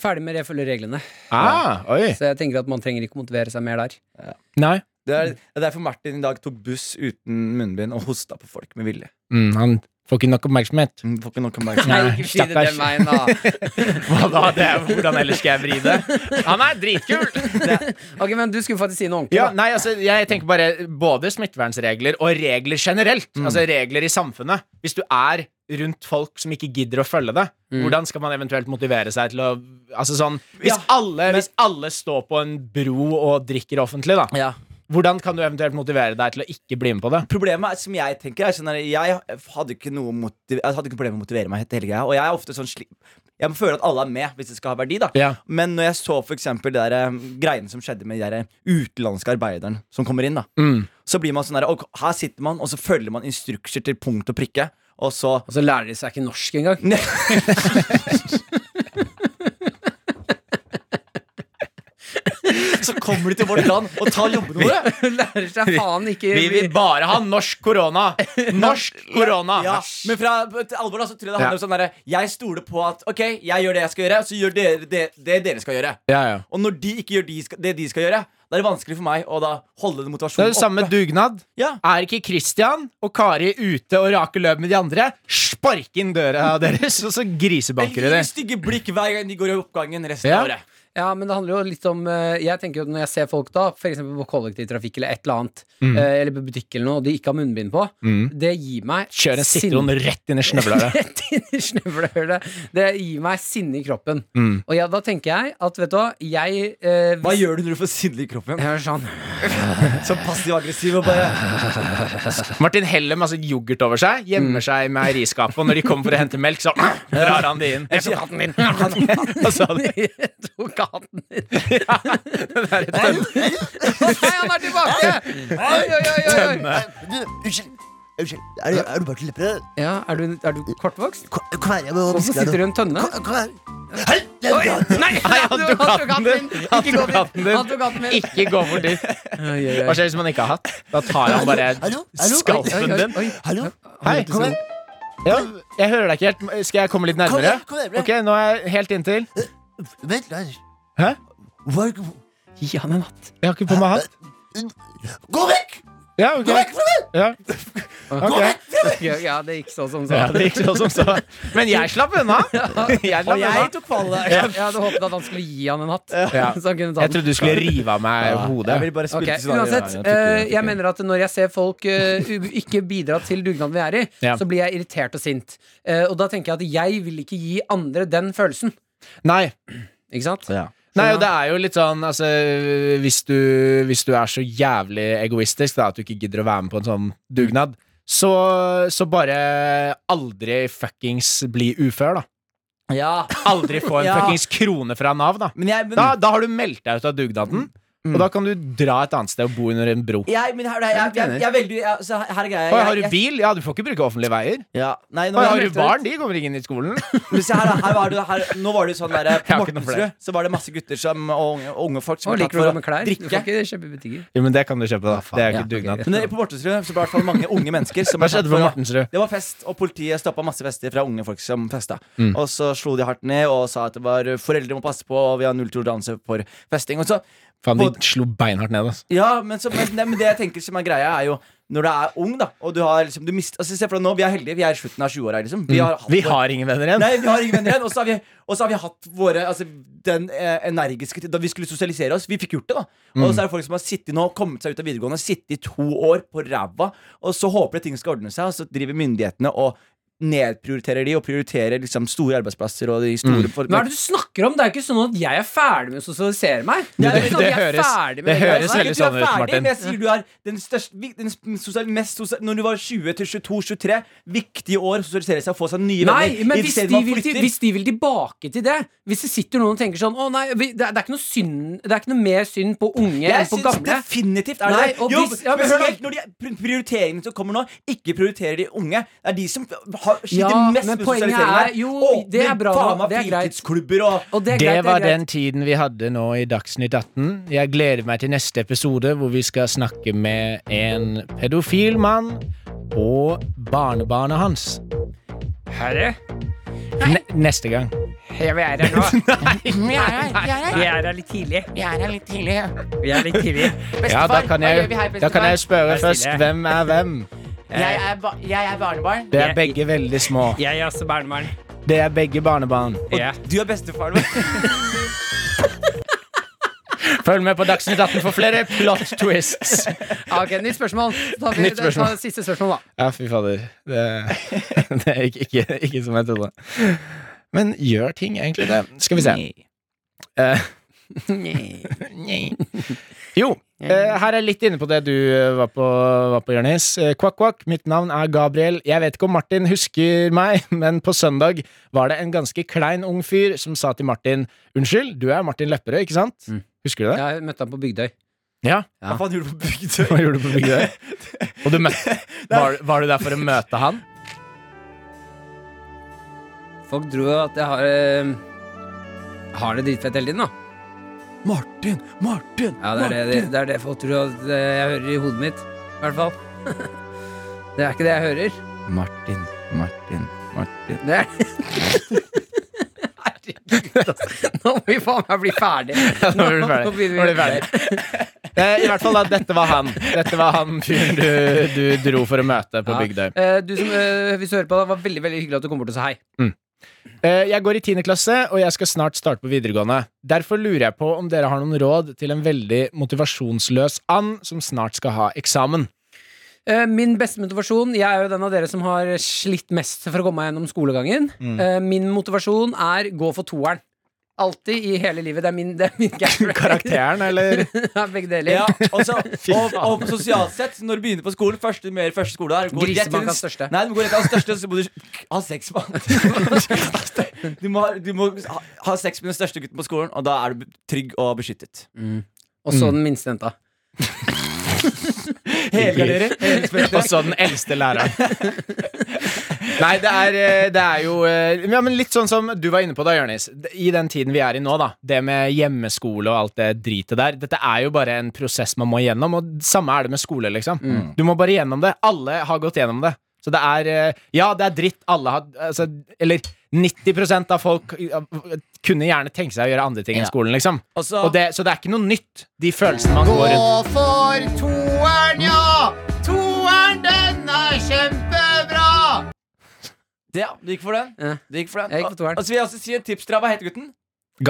S2: Ferdig med å følge reglene.
S3: Ah, oi.
S2: Så jeg tenker at man trenger ikke motivere seg mer der.
S3: Nei.
S4: Det er, det er derfor Martin i dag tok buss uten munnbind og hosta på folk med vilje.
S3: Mm, han får ikke nok oppmerksomhet.
S4: Mm, Får ikke noe oppmerksomhet.
S2: Nei,
S3: Nei,
S2: ikke si det
S3: stakkars.
S2: den veien, da.
S3: Hva da? Det er, hvordan ellers skal jeg vri det? Han er dritkul!
S2: Ok, men du skulle faktisk si noe ordentlig.
S3: Ja,
S2: da.
S3: nei, altså, jeg tenker bare både smittevernregler og regler generelt. Altså regler i samfunnet. Hvis du er rundt folk som ikke gidder å følge det, hvordan skal man eventuelt motivere seg til å Altså sånn Hvis,
S4: Ja,
S3: alle,
S4: men-
S3: hvis alle står på en bro og drikker offentlig, da,
S4: Ja.
S3: hvordan kan du eventuelt motivere deg til å ikke bli med på det?
S4: Problemet er, som jeg tenker er sånn her, Jeg hadde ikke noe motiv, Jeg hadde ikke problemer med å motivere meg til hele greia. Og jeg er ofte sånn sli, Jeg må føle at alle er med, hvis det skal ha verdi. da
S3: Ja.
S4: Men når jeg så for eksempel det der, eh, greiene som skjedde med de der eh, utenlandske arbeideren som kommer inn, da
S3: Mm.
S4: så blir man sånn her, og her sitter man, og så følger man instrukser til punkt og prikke. Og så
S2: Og så lærer de seg ikke norsk engang.
S4: Nei. Så kommer de til vårt land og tar jobbene våre!
S2: lærer seg faen ikke
S3: Vi vil bare ha norsk korona! Norsk korona!
S4: Ja, men fra til alvor da, så tror jeg det handler om sånn derre Jeg stoler på at OK, jeg gjør det jeg skal gjøre, så gjør dere det, det dere skal gjøre.
S3: Ja, ja.
S4: Og når de ikke gjør de skal, det de skal gjøre, Da er det vanskelig for meg å da holde den
S3: Det er
S4: motivasjonen
S3: det samme med dugnad.
S4: Ja.
S3: Er ikke Christian og Kari ute og raker løp med de andre? Spark inn døra deres, og så grisebanker du
S4: Jeg
S3: dem.
S4: gir stygge blikk hver gang de går i oppgangen resten
S3: Ja.
S4: av året.
S2: Ja, men det handler jo litt om eh, Jeg tenker jo Når jeg ser folk da, f.eks. på kollektivtrafikk eller et eller annet,
S3: Mm.
S2: eh, eller på butikk eller noe, og de ikke har munnbind på, det gir meg
S3: Kjør en sitron rett inn i snøvla.
S2: Rett inn i snøvlehullet. Det gir meg sinne i kroppen.
S3: Mm.
S2: Og ja, da tenker jeg at, vet du hva, jeg eh,
S4: Hva gjør du når du får sinne i kroppen?
S2: Jeg er sånn
S4: Som passiv-aggressiv og bare
S3: Martin heller masse yoghurt over seg,
S7: Mm.
S3: gjemmer seg i meieriskapet, og når de kommer for å hente melk, så drar han de inn.
S2: Jeg tok hatten din!
S3: Hva sa du?
S2: Jeg tok hatten din. Å nei, han er tilbake! Oi, oi, oi, oi, oi.
S7: Du, unnskyld. Unnskyld. Er du, er du Martin Lepperød?
S2: Ja, er du, er du kortvokst?
S7: Kom kom her, jeg må
S2: Hvorfor
S7: hviske deg noe.
S2: sitter du i en tønne?
S7: Kom, kom her. Hei! det er
S2: Oi,
S7: bra.
S2: Nei, han tok hatten min! Ikke gå dit.
S3: hatten din.
S2: Han tok hatten min!
S3: Ikke gå bort dit.
S2: Oi, oi,
S3: Hva
S2: oi.
S3: skjer hvis man ikke har hatt? Da tar han
S7: Hallo?
S3: bare
S7: Hallo?
S3: skalpen
S2: Oi,
S3: din.
S2: oi, oi.
S7: Hallo?
S3: Hei,
S7: Kom her.
S3: Ja, jeg hører deg ikke helt. Skal jeg komme litt
S7: Kom
S3: nærmere?
S7: her, kom her.
S3: Ok, nå er jeg helt inntil.
S7: Vent, Lars.
S3: Hæ?
S7: Hvorfor er du-
S2: Gi han en hatt.
S3: Jeg har ikke på meg hatt.
S7: Gå vekk!
S3: Ja, ok.
S7: Gå vekk fra meg!
S3: Ja.
S7: Gå
S3: Ok.
S7: vekk fra meg!
S2: Ja, ja, det gikk sånn som
S3: Ja,
S2: sånn.
S3: det gikk så som så. Men jeg slapp unna. Jeg slapp
S4: Og
S3: unna.
S4: jeg tok fallet.
S2: Jeg hadde håpet at han skulle gi han en hatt.
S3: Ja.
S2: Så han kunne ta
S3: Jeg
S2: den.
S3: trodde du skulle rive av meg hodet.
S4: Jeg vil bare
S2: Ok,
S4: spille til scenarioet.
S2: Uansett,
S4: Ja, fikk
S2: eh,
S4: det,
S2: jeg
S4: fikk det.
S2: mener at når jeg ser folk eh, u- ikke bidra til dugnaden vi er i,
S3: Ja.
S2: så blir jeg irritert og sint. Eh, og da tenker jeg at jeg vil ikke gi andre den følelsen.
S3: Nei.
S2: Ikke sant?
S4: Ja.
S3: Nei, og det er jo litt sånn altså, hvis, du, hvis du er så jævlig egoistisk da, at du ikke gidder å være med på en sånn dugnad, så, så bare aldri fuckings bli ufør, da.
S4: ja.
S3: Aldri få en
S4: Ja. Mm.
S3: fuckings krone fra Nav, da.
S4: Men, jeg, men,
S3: Da, da har du meldt deg ut av dugnaden, og da kan du dra et annet sted og bo under en bro.
S4: jeg, men her, jeg, jeg, jeg, jeg, er veldig jeg, så her er greia.
S3: Oi,
S4: Jeg-
S3: har du
S4: jeg-
S3: bil? Ja, du får ikke bruke offentlige veier.
S4: Ja. Nei, nå,
S3: Oi,
S4: jeg
S3: har du
S4: meldte meg
S3: barn? De kommer ikke inn i skolen.
S4: Men se her, da, her var det, her, nå var det jo sånn der
S3: Jeg
S4: På
S3: har ikke noe
S4: Mortensrud så var det masse gutter som, og unge, unge folk som
S2: Og
S4: ble tatt
S2: liker du å
S4: for
S2: gå
S4: å
S2: med klær? Du
S4: drikke.
S2: får ikke kjøpe i butikker.
S3: Jo, men det kan du kjøpe, da. Det er jo ikke dugnad.
S4: Men på Mortensrud så ble det i hvert fall mange unge mennesker som
S3: Hva
S4: ble tatt
S3: skjedde på
S4: for å-
S3: Mortensrud?
S4: Det var fest, og politiet stoppa masse fester fra unge folk som festa.
S3: Mm.
S4: Og så slo de hardt ned og sa at det var foreldre må passe på, og vi har nulltoleranse for festing. Og så,
S3: Faen, de slo beinhardt ned, altså.
S4: ja, men, så, men, nei, men det jeg tenker som er greia, er jo når du er ung, da, og du har liksom du mist, altså, Se for deg nå, vi er heldige, vi er i slutten av 20-åra, liksom. Vi har, hatt
S3: Mm. Vi
S4: vår-
S3: har ingen venner igjen.
S4: Nei, vi har ingen venner igjen. Og så har, vi- og så har vi hatt våre altså, Den eh, energiske tid- Da vi skulle sosialisere oss, vi fikk gjort det, da. Og
S2: Mm.
S4: så er det folk som har sittet nå, kommet seg ut av videregående, sittet i to år på ræva, og så håper de ting skal ordne seg, og så driver myndighetene og nedprioriterer de og prioriterer liksom store arbeidsplasser og de store for-
S2: Hva Mm. er det du snakker om? Det er jo ikke sånn at jeg er ferdig med å sosialisere meg.
S3: Det,
S2: er ikke sånn at
S3: det,
S2: jeg er
S3: høres,
S2: ferdig
S3: det
S2: med
S4: Jeg
S3: høres
S4: sier
S3: veldig
S4: ikke
S3: sånn
S4: du er
S3: ut,
S4: ferdig,
S3: Martin.
S4: Men jeg sier du er den største vi- den sosial- mest sosial, Når du var 20 til 22, 23, viktige år, sosialisere seg og få seg nye
S2: Nei, men hvis
S4: Identiteten
S2: de,
S4: man
S2: vil til,
S4: flytter.
S2: hvis de vil tilbake til det Hvis det sitter noen og tenker sånn Å nei, vi, det, er, det, er ikke noe synd, det er ikke noe mer synd på unge enn
S4: Jeg
S2: på
S4: syns
S2: gamle.
S4: definitivt er det
S2: Nei,
S4: det.
S2: og
S4: Jo,
S2: hvis- ja, men hør
S4: spesielt når de pri- prioriteringene som kommer nå, ikke prioriterer de unge. Det er de som har sliter
S2: Ja,
S4: mest
S2: men
S4: med
S2: poenget
S4: sosialiseringen.
S2: er- jo,
S4: Å,
S2: det er bra,
S4: faen meg
S2: det er greit.
S4: fritidsklubber og
S2: Og det, er greit,
S3: Det var
S2: det er greit.
S3: den tiden vi hadde nå i Dagsnytt 18. Jeg gleder meg til neste episode, hvor vi skal snakke med en pedofil mann og barnebarnet hans.
S2: Herre,
S3: Ne neste gang.
S2: jeg vil være her nå.
S8: Vi er her, vi er her.
S2: Vi er her litt tidlig.
S8: Vi er her litt tidlig.
S2: Vi er litt tidlig.
S3: Ja, da kan
S8: hva
S3: jeg,
S8: gjør vi her,
S3: da kan jeg spørre
S2: Vær
S3: først
S2: stille.
S3: hvem er hvem.
S8: Jeg
S4: Eh,
S8: er, ba jeg er barnebarn.
S3: Det er begge veldig små.
S2: Jeg er også barnebarn.
S3: Det er begge barnebarn.
S2: Ja.
S4: Du er bestefaren min.
S3: Følg med på Dagsnytt 18 for flere plot twists.
S2: Ok, nytt spørsmål. Så tar vi
S3: Nytt spørsmål.
S2: Ta siste spørsmål, da.
S3: Ja, fy fader. Det, det er ikke, ikke, ikke som jeg trodde. Men gjør ting egentlig det? Skal vi se. Eh, Nei. Jo, eh, her er jeg litt inne på det du eh, var på, var på Jørnis. Eh, Kvakk, kvakk, mitt navn er Gabriel. Jeg vet ikke om Martin husker meg, men på søndag var det en ganske klein ung fyr som sa til Martin Unnskyld, du er Martin Lepperød, ikke sant?
S2: Mm.
S3: Husker du det?
S2: Jeg møtte han på Bygdøy.
S3: Ja.
S4: Hva faen gjorde du på Bygdøy?
S3: Hva gjorde du på Bygdøy? Og du møtte var, var du der for å møte han?
S2: Folk tror jo at jeg har eh, har det dritfett hele tiden, da.
S4: Martin, Martin,
S2: Ja, det er det, det, det, er det folk tror at eh, jeg hører i hodet mitt. I hvert fall. Det er ikke det jeg hører.
S4: Martin, Martin, Martin.
S2: Det er Herregud, altså. Nå må vi faen meg bli ferdig.
S3: Nå blir du ferdig. Nå blir du ferdig. Eh, I hvert fall da, dette var han. Dette var han fyren du, du dro for å møte på
S2: Ja.
S3: Bygdøy.
S2: Eh, du som, eh, hvis du hører på, det var veldig veldig hyggelig at du kom bort og sa hei.
S3: Eh, Jeg går i 10. klasse, og jeg skal snart starte på videregående. Derfor lurer jeg på om dere har noen råd til en veldig motivasjonsløs and som snart skal ha eksamen.
S2: Eh, Min beste motivasjon Jeg er jo den av dere som har slitt mest for å komme meg gjennom skolegangen.
S4: Mm.
S2: Eh, Min motivasjon er gå for toeren. Alltid i hele livet. Det er min, det er min gap.
S3: Karakteren, eller?
S2: Ja, Begge deler.
S4: Ja, og, så, og, og sosialt sett, når du begynner på skolen, første, mer, første skoledag går rett til den-
S2: Grisebank av største.
S4: Nei, du går rett til den største, så må du ha sex med han. Du må, du må ha, ha sex med den største gutten på skolen, og da er du trygg og beskyttet. Mm.
S2: Og så den minste jenta.
S4: Helgardering.
S3: Og så den eldste læreren. Nei, det er, eh, det er jo eh, ja, men Litt sånn som du var inne på da, Jørnis. I den tiden vi er i nå, da. Det med hjemmeskole og alt det dritet der. Dette er jo bare en prosess man må igjennom, og samme er det med skole, liksom. Du må bare gjennom det. Alle har gått gjennom det. Så det er eh, Ja, det er dritt. Alle har altså, Eller 90 av folk eh, kunne gjerne tenke seg å gjøre andre ting enn skolen, liksom.
S4: Og så-
S3: og det, så det er ikke noe nytt, de følelsene man går rundt
S7: Gå for toeren, ja! Toeren, den er kjempebra!
S4: Ja, du gikk for den.
S2: Ja.
S4: Du gikk for den.
S2: Jeg gikk for toeren.
S4: Og, og så vil jeg også si et tips til deg. Hva heter gutten?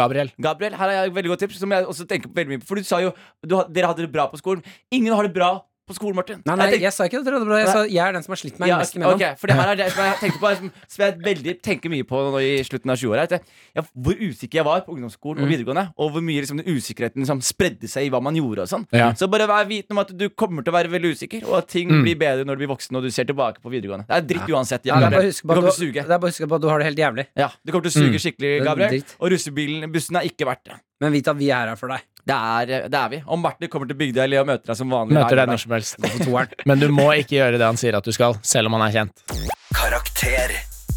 S3: Gabriel.
S4: Gabriel, her har jeg et veldig godt tips. Som jeg også tenker veldig mye på For du sa jo du, har- dere hadde det bra på skolen. Ingen har det bra på skolen, Martin.
S2: Nei, nei,
S4: Jeg tenker-
S2: jeg sa ikke det. Bra. Jeg, sa, jeg er den som har slitt meg
S4: Ja,
S2: mest imellom.
S4: ok, for det her er det som jeg tenkte på som, som jeg veldig tenker mye på nå i slutten av 20-åra. at jeg- Ja, hvor usikker jeg var på ungdomsskolen
S2: Mm.
S4: og videregående. Og hvor mye liksom, den usikkerheten liksom, spredde seg i hva man gjorde. og sånn
S3: Ja.
S4: Så bare vær vitende om at du kommer til å være veldig usikker, og at ting blir bedre når du blir voksen og du ser tilbake på videregående. Det er dritt uansett.
S2: Ja,
S4: Ja,
S2: det er
S4: Gabriel. du
S2: bare å huske på
S4: kommer
S2: at
S4: til å
S2: du, det
S4: suge.
S2: er bare å huske på at du har det helt jævlig.
S4: Ja, du kommer til å suge skikkelig,
S2: er
S4: Gabriel.
S2: dritt.
S4: Og russebilen bussen er ikke verdt det.
S2: Men vit at vi er her for deg.
S4: Det er, det er vi. Og Martin kommer til Bygdøy eller og møter deg som vanlig.
S3: Møter
S4: hver
S3: deg
S4: dag.
S3: når som helst.
S2: På toeren.
S3: Men du må ikke gjøre det han sier at du skal, selv om han er kjent.
S5: Karakter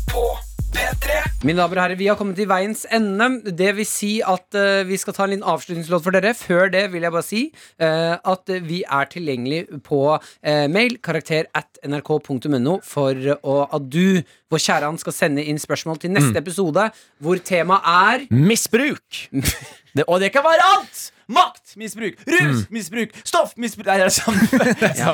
S5: på P3.
S2: Mine damer og herrer, vi har kommet til veiens ende. Det vil si at eh, vi skal ta en liten avslutningslåt for dere. Før det vil jeg bare si eh, at vi er tilgjengelig på eh, mail karakter at nrk.no for å, at du, vår kjære han, skal sende inn spørsmål til neste episode, hvor temaet er
S3: Misbruk!
S4: Det, og det kan være alt! Maktmisbruk, rusmisbruk, stoffmisbruk Nei, det er det samme.
S2: Mm. ja,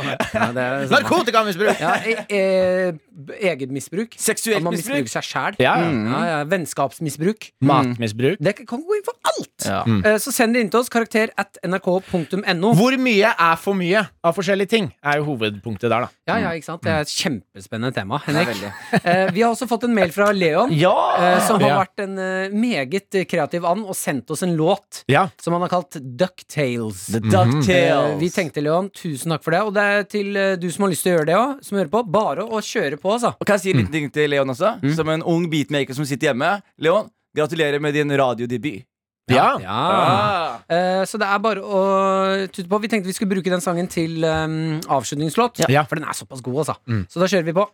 S2: det er sånn.
S3: Narkotikamisbruk!
S2: Ja, e e eget misbruk.
S4: Seksuelt
S2: At man
S4: misbruk.
S2: misbruker seg sjæl.
S3: Ja, ja.
S2: Ja, ja. Vennskapsmisbruk.
S3: Mm. Matmisbruk.
S2: Det kan gå inn for alt!
S4: Ja.
S2: Eh, Så send det inn til oss. Karakter at nrk.no.
S3: Hvor mye er for mye av forskjellige ting, er jo hovedpunktet der, da.
S2: Ja, ja, ikke sant? Det er et kjempespennende tema, Henrik.
S4: veldig.
S2: Eh, vi har også fått en mail fra Leon, eh, som har
S3: Ja.
S2: vært en eh, meget kreativ and og sendt oss en låt
S3: Ja.
S2: som han har kalt Ducktales.
S4: The Ducktails.
S2: Eh, vi tenkte, Leon, tusen takk for det. Og det er til eh, du som har lyst til å gjøre det òg, som hører på. Bare å kjøre på, altså.
S4: Og Kan jeg si en liten ting til Leon også?
S2: Mm.
S4: Som en ung beatmaker som sitter hjemme. Leon, gratulerer med din radiodebut.
S3: ja.
S4: Ah.
S2: Eh, så det er bare å tute på. Vi tenkte vi skulle bruke den sangen til um, avslutningslåt,
S3: Ja. Mm.
S2: for den er såpass god, altså. Så da kjører vi på.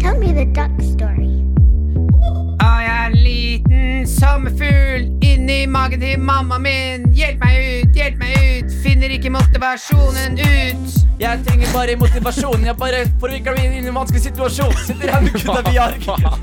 S9: Tell me the duck story.
S2: Og jeg er en liten sommerfugl inni magen til mamma min. Hjelp meg ut, hjelp meg ut. Finner ikke motivasjonen ut.
S4: Jeg trenger bare motivasjon. Jeg bare forvikler meg inn i en vanskelig situasjon. Sitter her med gutta vi har.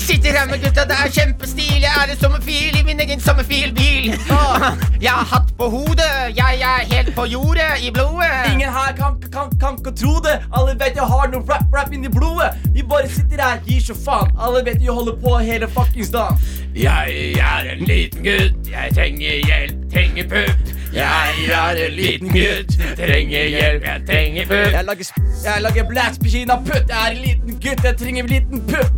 S8: Sitter her med gutta, det er kjempestil. Jeg er en sommerfil i min egen sommerfilbil. Åh, Jeg har hatt på hodet, jeg er helt på jordet, i blodet.
S4: Ingen her kan, kan, kan ikke tro det. Alle vet jeg har noe rap-rap inni blodet. Vi bare sitter her, gir så faen. Alle vet jeg holder på hele fuckings dagen.
S10: Jeg er en liten gutt, jeg trenger hjelp, trenger pupp. Jeg er en liten gutt, trenger hjelp, jeg trenger pupp.
S4: Jeg lager, sp- jeg lager black spagina putt. Jeg er en liten gutt, jeg trenger en liten pupp.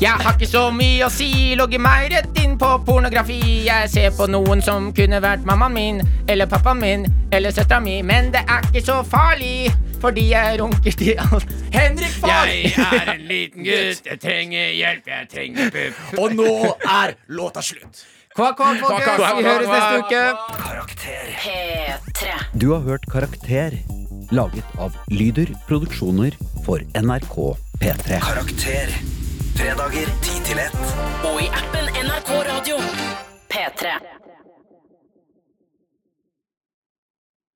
S8: Jeg har ikke så mye å si, logger meg rett inn på pornografi. Jeg ser på noen som kunne vært mammaen min, eller pappaen min, eller søstera mi. Men det er ikke så farlig, fordi jeg runker til alt.
S4: Henrik, far!
S10: Jeg er en liten gutt, jeg trenger hjelp, jeg trenger pupp.
S4: Og nå er låta slutt.
S2: Kva, kva, folkens. Vi høres neste uke.
S1: P3.
S11: Du har hørt Karakter, laget av Lyder Produksjoner for NRK P3.
S5: Karakter. Fredager 10 til 1.
S1: Og i appen NRK Radio. P3.